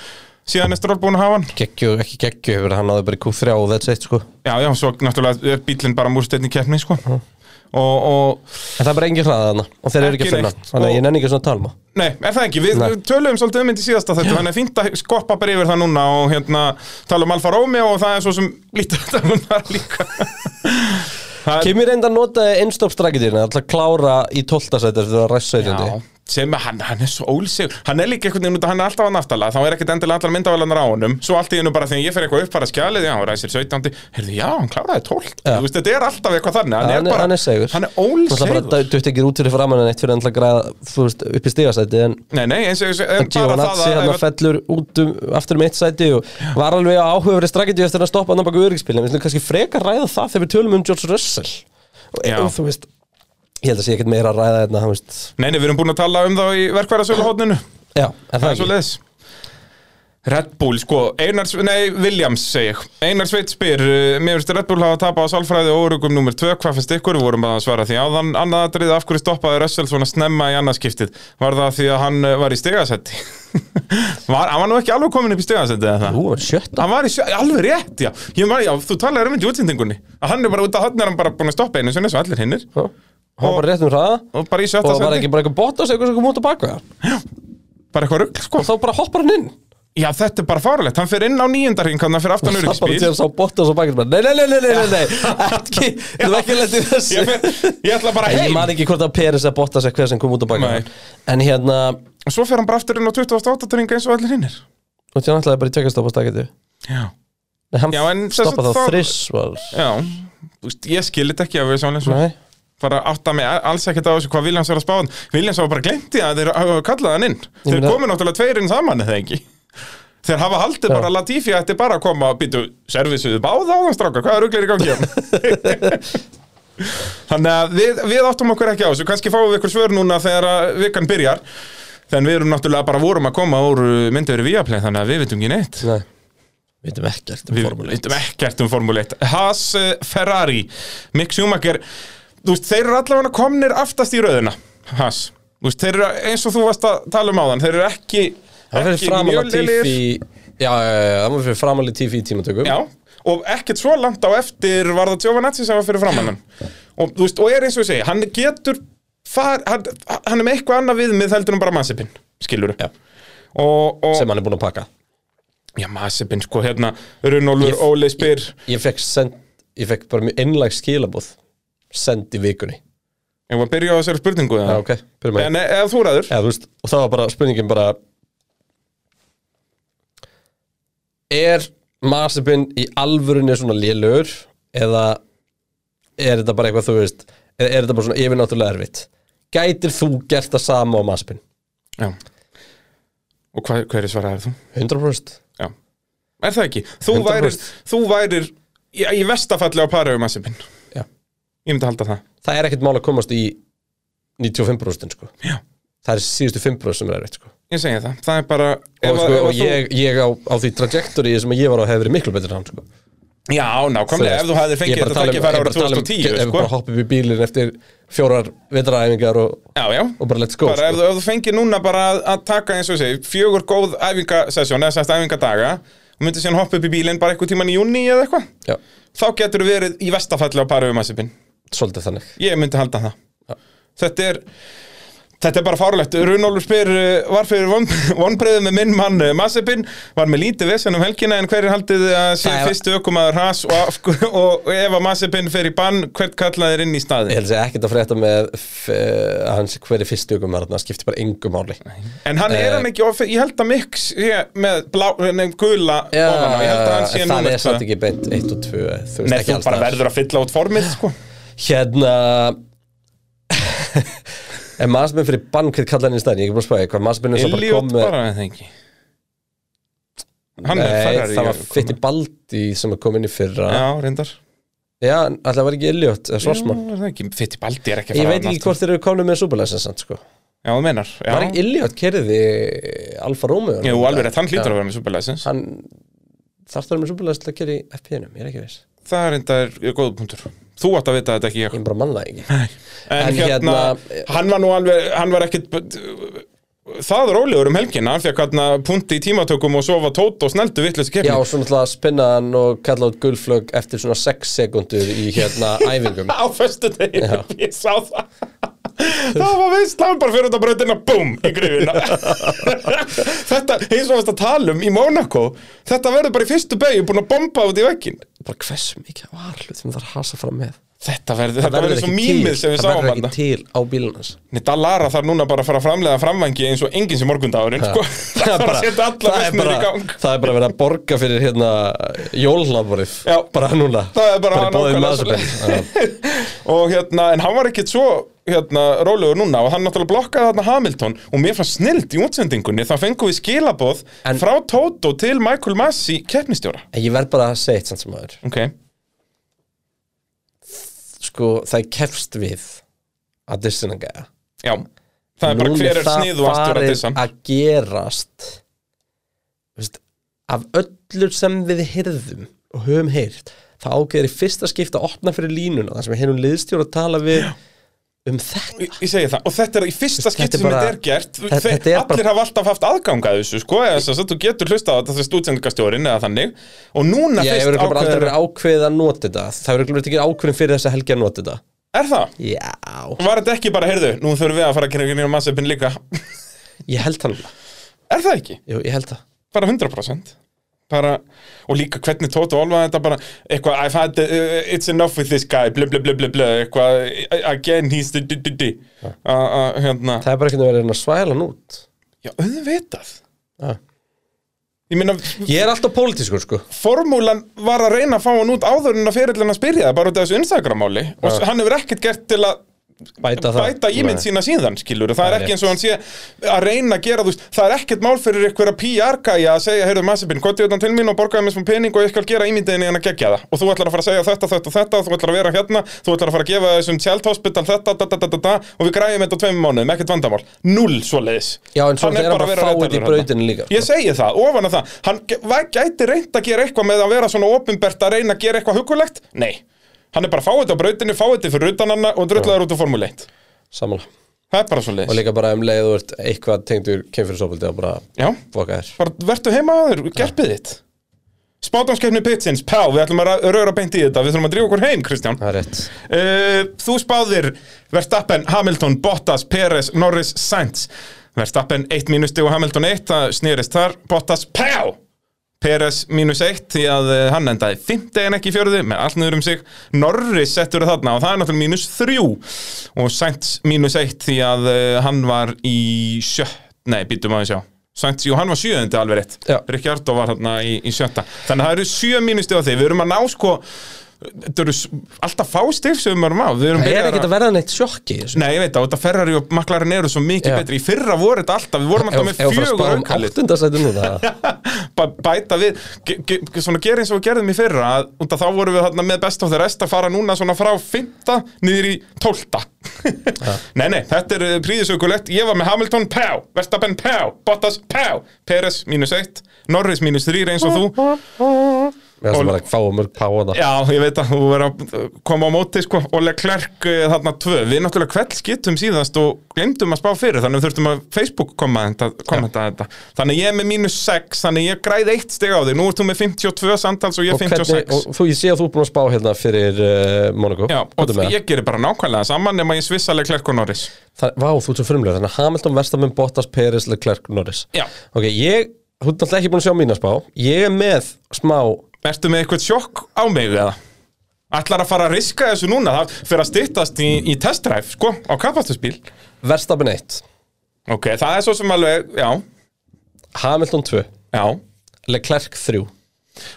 S2: Síðan er stról búin að hafa hann
S1: geggju, ekki geggju, hefur hann aðeins bara í Q3 og that's it sko en
S2: Já, já, svo náttúrulega er bílinn bara múrsteinn í keppni sko. og, og
S1: það er bara engin hraða þarna og þeir eru ekki
S2: Ekki
S1: að finna
S2: neitt,
S1: þannig að
S2: og-
S1: ég nenni ekki svona að tala um það.
S2: Nei, er það ekki, við
S1: Nei.
S2: við töluðum svolítið um þetta í síðasta þetta, þannig að fínt að skoppa bara yfir það núna og hérna tala um Alfa Romeo og það er svo sem lítið að tala um það líka Það er-
S1: Kimi reynda að nota einstopp strakkitýrna alltaf klára í 12. sæti eftir að ræst 17.
S2: Já, sem að hann, hann er svo ólsegur hann er líka einhvern veginn út að hann er alltaf að naftala þá er ekkert endilega allar myndavælanar á honum svo allt í hennu bara þegar ég fer eitthvað upp bara skjalið já, hann ræsir 17, heyrðu já, hann kláraði 12 þú veist, þetta er alltaf eitthvað þannig hann,
S1: Já,
S2: er, bara,
S1: hann er segur
S2: hann er
S1: Það er bara
S2: ólsegur
S1: dutt ekki út fyrir framann en eitt fyrir að græða þú veist, upp í stigasæti en
S2: nei, nei, eins og eins og- en bara það
S1: Giovinazzi
S2: að
S1: hann
S2: ef
S1: að fellur út um, aftur um eitt sæti og var alveg áhugaverið strakkitýr eftir að stoppa hann baka öryggspilin við slum kannski frekar ræða það þegar við tölum um George Russell og
S2: Já.
S1: og þú veist ég held að sé ekkert meira að ræða þetta þú veist
S2: að- nei, nei, við erum búin að tala um það í verkværasöluhóðninu
S1: já, er það
S2: Það er svo
S1: ekki
S2: leiðis Red Bull, sko, Einar, Sve- nei, Williams segi ég Einar Sveit spyr, uh, mér finnst Red Bull hafa tapað á sálfræði og órugum nummer 2 Hvað finnst ykkur, við vorum að svara því áðan Annað aðrið, af hverju stoppaði Russell svona snemma í annarskiptið Var það því að hann uh, var í stegasetti? var, hann var nú ekki alveg komin upp í stegasetti eða það?
S1: Ú, hann er sjötta
S2: Hann var í, sjö- alveg rétt, já, ég var, já Þú talaði um þetta í útsendingunni Að hann er bara út að hann er hann bara búin að stoppa einu sinni eins og allir hinnir
S1: Já. hann var bara rétt um hraða
S2: Og bara í sjötta
S1: og var
S2: sendi,
S1: ekki bara eitthvað Bottas eitthvað sem kom út að baka
S2: bara eitthvað rugl, sko
S1: og þá bara hoppar hann inn
S2: Já, þetta er bara fárlegt, hann fyrir inn á nýjendarhing hann fyrir aftan
S1: Það bara
S2: öryggspíl
S1: til að sá Bottas og bakið bara, Nei, nei, nei, nei, nei, nei, nei Ekki, þú ekki lendið þessu
S2: ég, fer, ég ætla bara
S1: Ég
S2: heim
S1: man ekki hvort að Peris að Bottas eða hver sem kom út á
S2: Nei.
S1: bakið En hérna,
S2: og svo fer hann bara aftur inn á 28. ringa eins og allir hinnir
S1: og því hann ætlaði bara í tveikastop á staketju
S2: já
S1: Nei, hann
S2: Já, en sem sagt
S1: stoppaði þá
S2: þá-
S1: þrisvar
S2: Já, þú veist, ég skil þetta ekki að við sjáum eins og
S1: Nei,
S2: bara átta mig alls ekkert á þessu hvað Viljans var að spáðan Viljans var bara glemt í að þeir hafa kallað hann inn Þeir
S1: meina-
S2: komu náttúrulega tveirinn saman eða ekki Þeir hafa haldið bara Latifi að þetta er bara að koma að býtu servisuðu báð á þann stráka, hvað er ruglir í gangi hérna? Þannig að við, við áttum okkur ekki á þessu, kannski fáum við ykkur svör núna þegar að vikan byrjar Þannig við erum náttúrulega bara vorum að koma úr myndaveri Viaplay þannig að við vitum ekki neitt
S1: nei
S3: Við veitum ekkert um
S2: Við
S3: formúli
S2: veitum ekkert um Formule 1 Haas, eh, Ferrari, Mick Schumacher Þú veist, þeir eru allavega komnir aftast í rauðina Haas Þú veist, þeir eru eins og þú varst að tala um áðan Þeir eru ekki,
S1: Hann fyrir
S2: ekki
S1: framan að
S2: lélegir.
S1: tífi Já, já, já, já, hann var fyrir framan að tífi í tímatökum
S2: Já, og ekkert svo langt á eftir var það Giovanazzi sem var fyrir framann hann og, þú veist, og er eins og ég segi, hann getur far, hann, hann er með eitthvað annað viðmið heldur en bara Mazepin, skilur
S1: Já.
S2: og, og
S1: sem hann er búin að pakka
S2: já, Mazepin, sko, hérna Runolfur,
S1: Ég-
S2: Óli spyr
S1: Ég fekk send, ég fekk bara mjög innlæg skilabóð send í vikunni
S2: Ég var að byrja á þessari spurningu
S1: Já, ok, byrjum að
S2: En e- ef þú ræður
S1: Já, þú veist, og það var bara spurningin bara Er Marsipin í alvörunni svona lélugur eða er þetta bara eitthvað þú veist eða er þetta bara svona yfirnáttúrulega erfitt Gætir þú gert það sama á Marsipin?
S2: Já. Og hvað, hverju svaraðir þú?
S1: 100%
S2: Já. Er það ekki? Þú
S1: 100%.
S2: værir, þú værir í, í vestafalli á pari um Massipin.
S1: Já.
S2: Ég myndi halda það.
S1: Það er ekkert mál að komast í 95% sko
S2: Já.
S1: Það er síðustu 5% sem er erfitt sko
S2: Ég segi það. Það er bara... ef
S1: Og,
S2: að-
S1: sko,
S2: ef að
S1: og
S2: þú-
S1: ég, ég á, á því trajectory sem ég var á hefur verið miklu betur hann sko
S2: Já, nákvæmlega, ef þú hafðir fengið þetta
S1: um-
S2: tækifæra árið 2010,
S1: Ef
S2: sko.
S1: bara hoppið við bílinn eftir fjórar vetraræfingar og,
S2: Já, já.
S1: og bara let's go sko.
S2: Bara ef þú, ef þú fengið núna bara að, að taka, eins og ég segi, fjögur góð æfingasessjón, eða sérst æfingadaga, og myndið síðan hoppa upp í bílinn bara eitthvað tíman í júni eða eitthvað,
S1: Já,
S2: þá getur þú verið í vestafalli á pari um Massipin.
S1: svolítið þannig
S2: Ég myndi halda það Þetta er Þetta er bara fárlegt, Runólfur spyr uh, var fyrir von- vonbrigðum með minn mann Massepin, var með lítið vesen um helgina en hver er haldið að sé
S1: Það er-
S2: fyrstu ökumaður Haas og, af, og ef að Massepin fer í bann, hvert kallaðir inn í staðin
S1: Ég held að segja ekkert að frétta með f- eh, að hans hverju fyrstu ökum er þarna, skiptir bara yngu máli
S2: En hann
S1: Eh.
S2: er hann ekki, of, ég held að Mick sé með blá, nefn gula
S1: Já,
S2: ofan á, ég held að hann sé
S1: það er
S2: númer tvö.
S1: samt ekki beint 1 og 2 Þú veist
S2: Nei,
S1: ekki
S2: þú
S1: alls staðar.
S2: bara verður að fylla út formið sko.
S1: Hérna En maður sem er fyrir bann hvernig kallar hann í staðin, ég er ekki búin að spæði hvað maður sem er svo bara
S2: Elliot
S1: kom með
S2: bara, eða ekki Hann er
S1: Nei,
S2: Ferrari
S1: það var
S2: ökumaður.
S1: fytti baldi sem er komin í fyrra
S2: Já, reyndar
S1: Já, alltaf var ekki Elliot, eða
S2: Jú,
S1: Svarsmann
S2: er það ekki, Fittibaldi er ekki að
S1: Ég
S2: fara
S1: veit ekki
S2: annað.
S1: hvort þeir eru komin með Superlicense sko.
S2: Já, þú meinar Já,
S1: Var ekki Illiot kerði Alfa Romeo
S2: Jú, alveg rétt, hann hlýtur að vera með superlæsins
S1: Hann þarftur að vera með Superlicense til að kerði FP-num, ég er ekki viss
S2: Það er enda góð punktur Þú átt að vita þetta ekki ég
S1: Ég er
S2: En,
S1: bara manna ekki en
S2: hérna,
S1: hérna-
S2: hann var nú alveg Hann var ekkit Það er ólegur um helgina Hann fekk hérna punti í tímatökum og svo var tótt og snældu vitleysi
S1: Já,
S2: kefni
S1: og svo náttúrulega spinna hann og kalla út gulflög eftir svona 6 sekundur í hérna æfingum
S2: Á föstu
S1: Já.
S2: ég sá það Það var veist, hann bara fyrir út á brautina Búm, í grifina Þetta, eins og varst að tala um í Monaco Þetta verður bara í fyrstu beigju búin að bomba út í vegginn
S1: Bara hversu mikið var hlut sem það er hasa fram með
S2: Þetta verður, þetta verður svo
S1: ekki
S2: mýmið sem
S1: það
S2: við sáum
S1: verður
S2: hann
S1: ekki til á bílunans
S2: Dallara þarf núna bara að fara að framlega framvangi eins og enginn sem morgundagurinn sko. Það er bara að setja alla
S1: það er
S2: vestnir í
S1: bara-
S2: gang
S1: það er bara verið að borga fyrir hérna jólhlaðborið
S2: Já.
S1: bara núna
S2: Það er bara,
S1: bara bóðið
S2: nákvæmlega
S1: maður
S2: svoleiðis. Og hérna, en hann var ekkit svo hérna, rólegur núna og hann náttúrulega blokkaði þarna Hamilton og mér fannst snild í útsendingunni þá fengum við skilaboð
S1: En-
S2: frá Toto til Michael Massi keppnistjóra
S1: En ég verð bara að segja eitt samt sem aður
S2: Ok,
S1: Sko, það er kefst við að dissina gæja
S2: já Það er bara
S1: Núna
S2: hver er snið og aftur að dissa
S1: Það farið að gerast þú veist, Af öllur sem við heyrðum og höfum heyrt Það ágæður í fyrsta skipta að opna fyrir línuna þar sem við heyrum liðstjóra að tala við um þetta
S2: Ég ég segi það, og þetta er í fyrsta
S1: Þetta
S2: skipt
S1: er
S2: sem
S1: bara-
S2: þetta er gert
S1: Þetta-
S2: Þe,
S1: þetta er
S2: Allir hafa alltaf haft aðgang að þessu sko, eða þess að þú getur hlustað á þetta þessi stúdsendingastjórin eða þannig og núna
S1: Ég hefur
S2: fyrst
S1: ekki aldrei
S2: ákveður
S1: verið ákveðið að nota þetta Það hefur ekki verið ekki ákveðin fyrir þessa helgi að nota þetta
S2: Er það?
S1: Já,
S2: Var þetta ekki bara, heyrðu, nú þurfum við að fara að kynna kynna massöpinn líka
S1: ég held hann
S2: Er það ekki?
S1: Jú, ég held það
S2: Bara 100% bara, og líka hvernig Tóta Olva þetta bara, eitthvað, I've had uh, it's enough with this guy, blu blu blu blu blu eitthvað, again he's the di di di uh, uh, hérna,
S1: Það er bara ekki verið að reyna að svæla hann út
S2: já, auðvitað
S1: Já.
S2: Ég meina,
S1: Ah. Ég er alltaf pólitískur sko
S2: formúlan var að reyna að fá hann út áður en að fyrirlina spyrja það bara út af þessu Instagram-máli og s- hann hefur ekkert gert til að
S1: Bæta það
S2: bæta ímynd
S1: Nei.
S2: sína síðan, skilur það er
S1: Nei.
S2: ekki eins og hann sé að reyna að gera þú veist, það er ekkert mál fyrir ykkur að PR-gæja að segja, heyrðu Massipin, kontið utan til mín og borgaði mér smá pening og ég skal gera ímyndinni en að gegja það og þú ætlar að fara að segja þetta, þetta og þetta og þú ætlar að vera hérna, þú ætlar að fara að gefa þessum sjælt hospital þetta, da, da, da, da, da, og við græjum þetta á tveimum mánuðum, ekkert vandamál null svoleiðis
S1: Já, en svo
S2: Hann er
S1: þegar hann bara
S2: bara að vera
S1: fáið í
S2: réttarlegur
S1: brautinni
S2: þarna.
S1: líka, sko.
S2: Ég segi það, ofan að það Hann ge- væ- gæti reynt að gera eitthvað með að vera svona opinbert að reyna að gera eitthvað hugulegt Nei, hann er bara fáið á brautinu, fáið fyrir utan hana og drullaður út úr formuleit
S1: Samanlega
S2: Það er bara svo
S1: Og
S2: leiðis
S1: líka bara um leið þú ert eitthvað tengdur kemfyrir sopildi og bara
S2: Já,
S1: boka þér
S2: bara vertu heima að þér, gerpið þitt Spátumskeppni pitsins, pá, við ætlum að ra- röra beint í þetta Við þurfum að drífa okkur heim, Kristján
S1: Það er rétt
S2: uh, Þú spáðir Verstappen, Hamilton, Bottas, Perez, Norris, Sainz Verstappen 1 mínusti og Hamilton 1 það snýrist þar, Bottas, pjá Peres mínus 1 því að eh, hann endaði 50 en ekki fjörði með allt niður um sig Norris settur þarna og það er náttúrulega mínus 3 og Sainz mínus 1 því að eh, hann var í sjö nei, býtum að við sjá Sainz, jú, hann var sjöðundi alveg rétt
S1: Já.
S2: Ricciardo var þarna í, í sjötta þannig að það eru sjö mínus á því við erum að ná sko þetta eru s- alltaf fá stig sem við erum á við erum
S1: Það er
S2: byrjaðar
S1: ekkert að verða neitt sjokki í þessu.
S2: Nei, ég veit það, og þetta Ferrari og McLaren eru svo mikið
S1: Já.
S2: betri Í fyrra voru þetta alltaf, við vorum
S1: Ef ef
S2: alltaf
S1: við
S2: með
S1: fara að spá
S2: fjögur
S1: um
S2: aukalið
S1: áttundasæti núna
S2: Bæ- bæta við ge- ge- ge- svona gera eins og við gerðum í fyrra að, út að þá vorum við þarna með best of the rest að fara núna svona frá 5. niður í 12. nei, nei, þetta er eh, príðisaukulegt, ég var með Hamilton pjá, Verstappen pjá, Bottas pjá Peres mínus 1, Norris mínus 3 eins og þú,
S1: Við erum bara að fá mörg páana
S2: já, ég veit að þú verður að eh, koma á móti, sko, og Leclerc eh, þarna 2, við náttúrulega kveld skittum síðast og glemdum að spá fyrir, þannig við þurftum að Facebook kommenta, kommenta þetta þannig ég er með mínus 6, þannig ég græði eitt stig á þig, nú ert þú með 52 samtals og ég
S1: Og,
S2: 56
S1: hvernig, og þú, ég sé að þú er búin að spá hérna fyrir uh, Monaco
S2: Já, og
S1: Hvað er með það?
S2: ég gerir bara nákvæmlega saman nema ég svissaleg klerk og Norris
S1: Það, vá, þú ert svo frumlega, þannig að Hamilton, Verstappen, Bottas, Peres, Leclerc, Norris
S2: Já.
S1: Ok, ég, þú ert alltaf ekki búin að sjá mína spá Ég er með smá
S2: Ertu með eitthvað sjokk á mig eða? Ætlar að fara að riska þessu núna það fyrir að styttast í, í testdræf sko, á kapastusbíl
S1: Verstappen 1,
S2: Ok, það er svo sem alveg, já,
S1: Hamilton 2,
S2: já
S1: Leclerc 3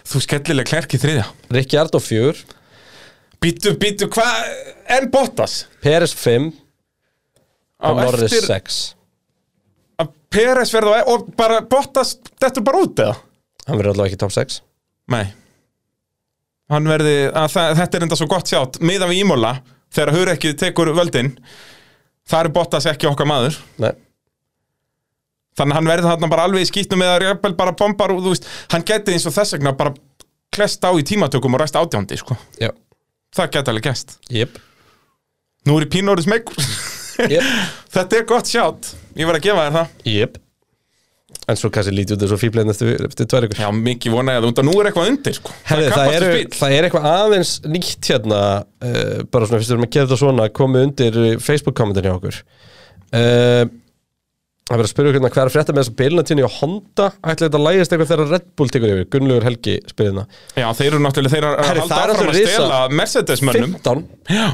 S2: Þú skellileg klerk í þriðja
S1: Ricciardo 4,
S2: Býtu, býtu, hvað, en Bottas
S1: Peres 5
S2: á
S1: og Norris
S2: eftir
S1: 6
S2: að Peres verða á- e- og bara Bottas, þetta er bara út eða?
S1: Hann verður allavega ekki top 6
S2: Nei Hann verði, að það, þetta er enda svo gott sjátt miðan við Ímola, þegar Hur ekki tekur völdin þar er Bottas ekki okkar maður
S1: Nei,
S2: þannig að hann verði þarna bara alveg í skýtnum eða reyfbel bara bombar og þú veist hann gæti eins og þess vegna bara klest á í tímatökum og ræst átjándi sko
S1: já,
S2: það gæti alveg gæst
S1: jip,
S2: nú er ég pínórið smegur
S1: jip,
S2: þetta er gott sjátt ég verð að gefa þér það
S1: jip En svo kannski lítið út þessu fíblein eftir, eftir tvær ykkur
S2: já mikið vona ég að undan nú er eitthvað undir sko
S1: Herri,
S2: er
S1: það,
S2: kappakstursbíll.
S1: eru, það er eitthvað aðeins nýtt hérna uh, bara svona fyrst við erum að gera þetta svona komið undir eh, Facebook kommentin hjá okkur uh, Það verður að spyrja okkur hvað er að frétta með þessa bilunatíni og Honda ætla þetta að lægist eitthvað þegar Red Bull tekur yfir Gunnlaugur Helgi hérna. spyrðina
S2: já þeir eru náttúrulega þeir eru að
S1: Herri,
S2: halda
S1: það er
S2: áfram að
S1: náttúrulega
S2: stela Mercedes mönnum
S1: 15,
S2: já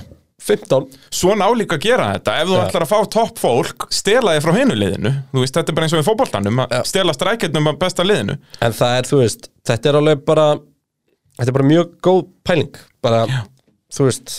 S1: 15
S2: svona álíka að gera þetta ef þú
S1: Já.
S2: ætlar að fá topp fólk stela þið frá hinu liðinu þú veist þetta er bara eins og í fótboltanum að stela strækjarnum að besta liðinu
S1: en það er, þú veist, þetta er alveg bara þetta er bara mjög góð pæling bara, þú veist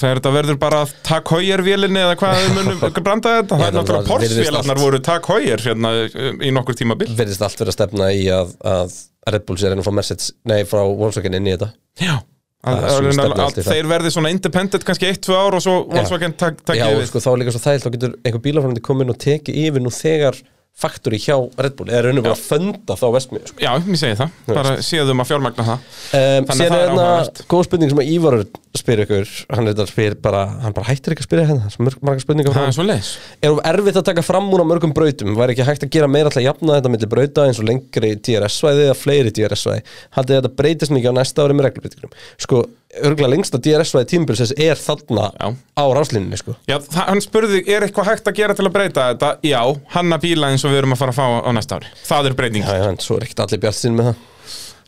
S2: Þegar þetta verður bara að takk hójar vélinni eða hvað við munum branda þetta Það
S1: Já,
S2: er náttúrulega
S1: það virðist
S2: porsvélarnar
S1: allt.
S2: voru takk hójar hérna um, í nokkur tímabil
S1: verðist allt verið að stefna í að, að Red Bull sér enn að fá Mercedes, nei, frá Volkswagen inn í þetta
S2: Já Að,
S1: Það er svona
S2: að, að,
S1: stefna allt
S2: að
S1: í það.
S2: þeir verði svona independent kannski 1-2 ár og svo Volkswagen tak,
S1: Já,
S2: takkið
S1: og
S2: við
S1: sko, þá er líka svo þægilt, þá getur einhver bílafrændi komin og tekið yfir nú þegar faktori hjá Red Bull, eða raunum bara að funda þá vestmið, sko.
S2: Já, ég segi það, bara séðum að fjármagna það
S1: Um,
S2: að
S1: Sér
S2: það
S1: er
S2: er
S1: hérna
S2: áhugavert.
S1: góð spurning sem að Ívar Örn spyr ykkur, hann er þetta spyr bara, hann bara hættir ekki að spyrja hérna, það er svo mörg- margar spurningar frá
S2: Það
S1: honum.
S2: er svo leis
S1: Er of erfitt að taka fram úr á mörgum brautum? Væri ekki hægt að gera meira alltaf jafna þetta milli brauta eins og lengri DRS-svæði eða fleiri DRS-svæði? Haldið þið að þetta breytist mikið á næsta ári með reglubreitingum? Sko, örgulega lengsta DRS-svæði tímabilsins er þarna
S2: Já.
S1: á ráslínunni, sko.
S2: Já, það, hann spurði, er eitthvað hægt að gera til að breyta þetta? Já, hanna bíla eins og við erum að fara að fá á næsta ári Það er breyting
S1: Já, já, en svo er ekkert allir bjart með það.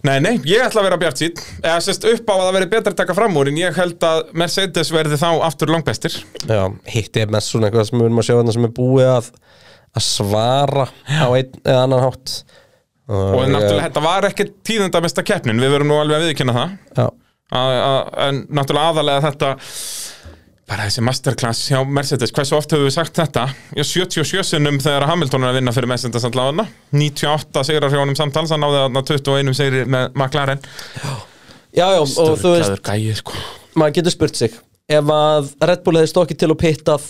S2: Nei, nei, ég ætla að vera bjart sítt Eða sérst upp á að það veri betra að taka fram úr En ég held að Mercedes verði þá aftur langbestir
S1: Já, hitt er mest svona eitthvað sem við erum að sjá þarna sem er búið að, að svara á einn eða annan hátt
S2: og náttúrulega þetta var ekki tíðendamesta keppnin við verum nú alveg að viðkynna það
S1: Já,
S2: að, að, en náttúrulega aðalega þetta bara þessi masterclass hjá Mercedes, hversu oft höfum við sagt þetta já, 77 sinnum þegar Hamilton er að vinna fyrir Mercedes allavega, 98 sigrar hjá honum samtals, hann náði þarna 21 sigri með McLaren,
S1: já, já og þú veist,
S2: gæið sko
S1: maður getur spurt sig ef að Red Bull hefði stokkið til og pittað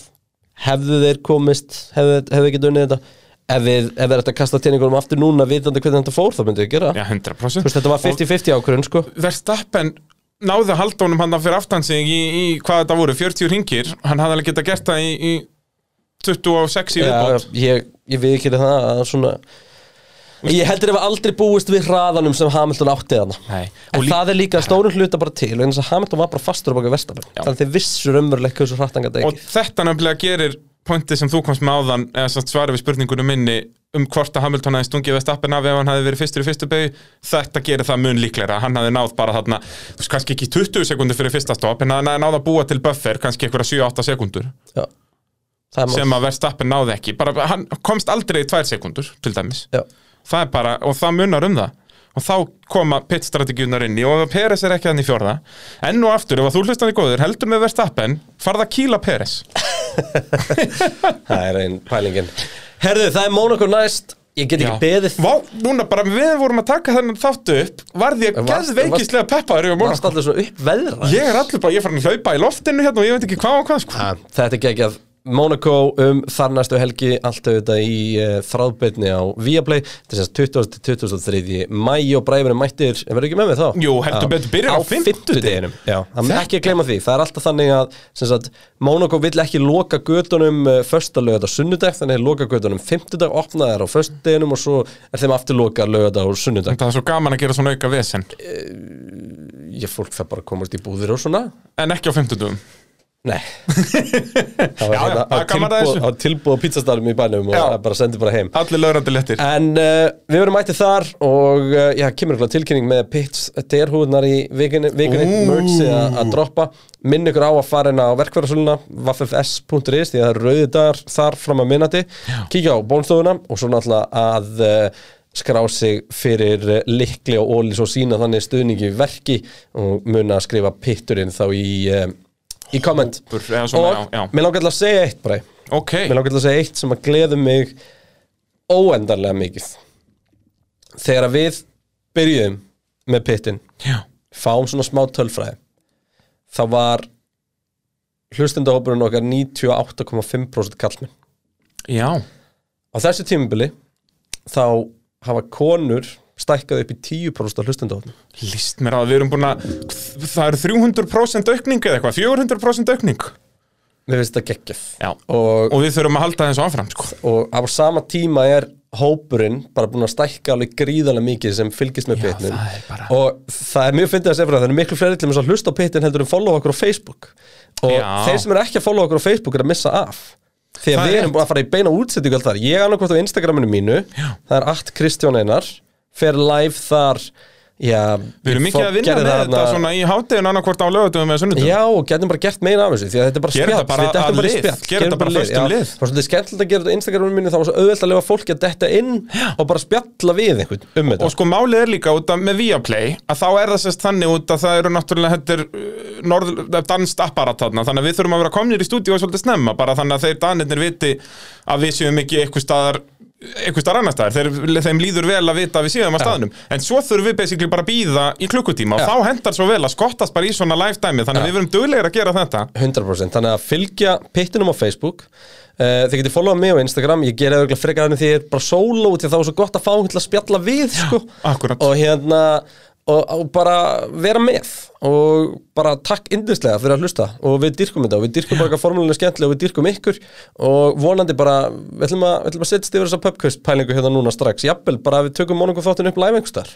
S1: hefðu þeir komist hefðu, hefðu ekki dunnið þetta ef við, ef við erum að kasta tjáningunum aftur núna vitandi hvernig þetta fór þá myndum við gera ja.
S2: já, 100%
S1: veist, þetta var 50-50 ákvörðun sko
S2: Verstappen náði að halda honum hann fyrir aftan sig í, í hvað þetta voru, 40 ringir hann hafði alveg geta gert það í, í 26 í
S1: ja,
S2: viðbót
S1: ég, ég við ekki það að svona ég heldur ef aldrei búist við hraðanum sem Hamilton átti þarna
S2: Nei.
S1: en
S2: Og lí-
S1: það er líka stórum hluta bara til en þess að Hamilton var bara fastur á baka Vestapen þannig að þeir vissur ömurleik hversu hrattan gæti
S2: og
S1: ekki
S2: þetta nefnilega gerir pointið sem þú komst með áðan eða satt svarið við spurningunum minni um hvort að Hamilton hefði stungið Vestappen af ef hann hefði verið fyrstur í fyrstu beigju þetta gerir það mun líklegra, hann hefði náð bara þarna þú veist kannski ekki 20 sekundur fyrir fyrsta stopp en hann hefði náð að búa til buffer kannski einhverja 7-8 sekundur
S1: Já. það er
S2: sem
S1: mál
S2: að Vestappen náði ekki bara, hann komst aldrei í 2 sekundur til dæmis
S1: Já.
S2: það er bara, og það munar um það og þá koma pitstrategjunar inn í og Peres er ekki hann í fjórða enn og aftur, ef að þú hlustandi góður, heldur með Verstappen farða að kýla Peres
S1: það er einn pælingin herðu það er Monaco næst ég get ekki beðið
S2: Vá, núna bara við vorum að taka þennan þáttu upp varð ég
S1: Varst-
S2: geðveikislega peppaður yfir
S1: varst
S2: Monaco
S1: allir svona upp veðra
S2: Ég er allur bara, ég er farin að hlaupa í loftinu hérna og ég veit ekki hvað og hvað sko.
S1: þetta er geggjað Monaco um þarnastu helgi allt auðvitað í uh, þráðbyrni á Viaplay þetta er semst 20. til 23. mæ og bræðurinn mættir, verður ekki með mig þá?
S2: Jú, heldur betur, byrjar á fimmtudeginum.
S1: fimmtudeginum. Já, það er ekki að gleyma því, það er alltaf þannig að sem sagt, Monaco vill ekki loka gödunum uh, första lögða sunnudag, þannig að loka gödunum fimmtudag, opna þær á föstudeginum og svo er þeim aftur loka lögða á sunnudag
S2: Það er svo gaman að gera svona auka vesen
S1: ég fólk það bara að komast í búðir og svona
S2: En ekki á 50 dugum
S1: Nei Það var
S2: Já,
S1: hérna
S2: já, það
S1: á
S2: er gaman að
S1: tilboð-
S2: þessu.
S1: á tilbúð á pizzastarum í bænum og
S2: Já.
S1: það bara sendi bara heim
S2: Allir lögrandi lettir
S1: En uh, við verum mættið þar og uh, já, kemur eitthvað tilkynning með pits derhúðnar í vikunni, vikunni
S2: Ú.
S1: mergsi að að droppa minn ykkur á að fara inn á verkfærasöluna www.fs.is því að það er rauði dagar þar fram að minnati kíkja á bónstofuna og svo náttúrulega að uh, skrá sig fyrir uh, likli og óli svo sína þannig stuðningi við verki og muna að skrifa pitturinn þá í, um, í komment
S2: Hópur, eða svona,
S1: og
S2: já, já.
S1: mér langar til að segja eitt bara
S2: Ok,
S1: Mér langar til að segja eitt sem að gleðu mig óendanlega mikið Þegar að við byrjuðum með pittin
S2: já,
S1: fáum svona smá tölfræði þá var hlustendahópurinn okkar 98,5% kallmenn
S2: já
S1: Á þessu tímubili þá hafa konur stækkað upp í 10% af hlustendahópurinn
S2: List mér að við erum búin að Það eru 300% aukning eða eitthvað 400% aukning
S1: Mér finnst þetta geggjaf
S2: Já
S1: og
S2: Og við þurfum að halda þessu áfram sko.
S1: og á sama tíma er hópurinn bara búin að stækka alveg gríðarlega mikið sem fylgist með pitnum
S2: það er bara-
S1: og það er mjög fyndið að segja fyrir það það er miklu fleiri til þess að hlusta á pitnin heldur en follow okkur á Facebook og
S2: Já.
S1: þeir sem eru ekki að follow okkur á Facebook er að missa af því að
S2: Það er
S1: við erum
S2: rétt.
S1: búin að fara í beina útsettingu alltaf þar, ég annarkvæmt á Instagraminu mínu já. það er 8 Kristján Einar fer live þar já,
S2: Við erum mikið að vinna með þetta svona í hátíðin annarkvort á lögutum með sunnudum
S1: Já, og getum bara gert meina af þessu Því að þetta er bara
S2: Gerum
S1: spjall
S2: þetta bara
S1: við dettum í
S2: að lið,
S1: spjall,
S2: gerum þetta bara
S1: í
S2: föstum
S1: Já,
S2: lið.
S1: Það var svolítið skemmtilegt að gera þetta á Instagraminu mínu þá var svo auðvelt að lifa fólki að detta inn og bara spjalla við einhvern um þetta
S2: Og sko málið er líka út af með Viaplay að þá er það sérst þannig út að það eru náttúrulega þetta er uh, norð, það er danskt apparat þarna þannig að við þurfum að vera komnir í stúdíu og svolítið snemma bara þannig að þeir danirnir viti að við séum ekki eitthvað staðar eitthvað staðar annar staðar, þeir, þeim líður vel að vita að við séum að staðnum, en svo þurfum við basically bara að býða í klukkutíma og þá hendar svo vel að skottast bara í svona live dæmi þannig að við verum duglegir að gera þetta
S1: 100% Þannig að fylgja pittinum á Facebook uh, Þið getið followað mig á Instagram Ég gera auðvitað frekar þannig því ég er bara solo út Því að það var svo gott að fá einhvern til að spjalla við sko.
S2: akkúrat.
S1: Og hérna og, og bara vera með og bara takk yndislega fyrir að hlusta og við dyrkum þetta og við dyrkum bara hvað formúlinu er skemmtilega og við dyrkum ykkur og vonandi bara, við ætlum að, við ætlum að setjast yfir þessa pubquist pælingu hérna núna strax jafnvel bara að við tökum monungu þáttun upp live einhverstar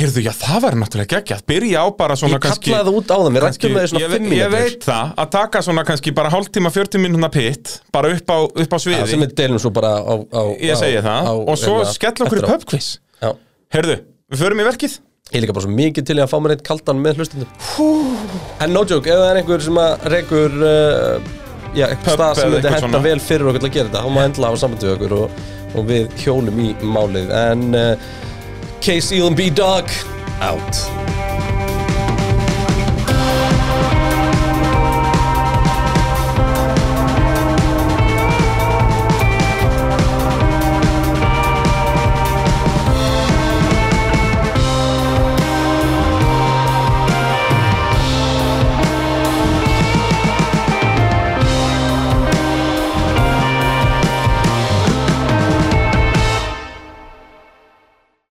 S2: Heyrðu, já, það var náttúrulega geggjað. Byrja á bara svona
S1: Ég
S2: kannski...
S1: kallaði það út áðan, við
S2: kannski-
S1: ræddum það í svona
S2: ég
S1: fimm
S2: ve- Ég
S1: mínútur.
S2: veit það, að taka svona kannski bara hálftíma, 40 mínúna pitt, bara upp á, upp á sviði.
S1: sem við deilum svo bara á, á, hérna
S2: Ég segi það. og svo skell okkur í pubquiz.
S1: pub
S2: Heyrðu, við förum í verkið.
S1: Ég er líka bara svo mikið til í að fá mér eitt kaldan með hlustundum En no joke, ef það er einhver sem að rekur uh, Já, eitthvað
S2: Pub
S1: stað sem
S2: eða
S1: myndi
S2: eitthvað
S1: henda
S2: svona.
S1: vel fyrir okkur til að gera þetta Há maður endla að hafa samband við okkur og, og við hjólum í málið En uh, that case, Elon B. Dog, out.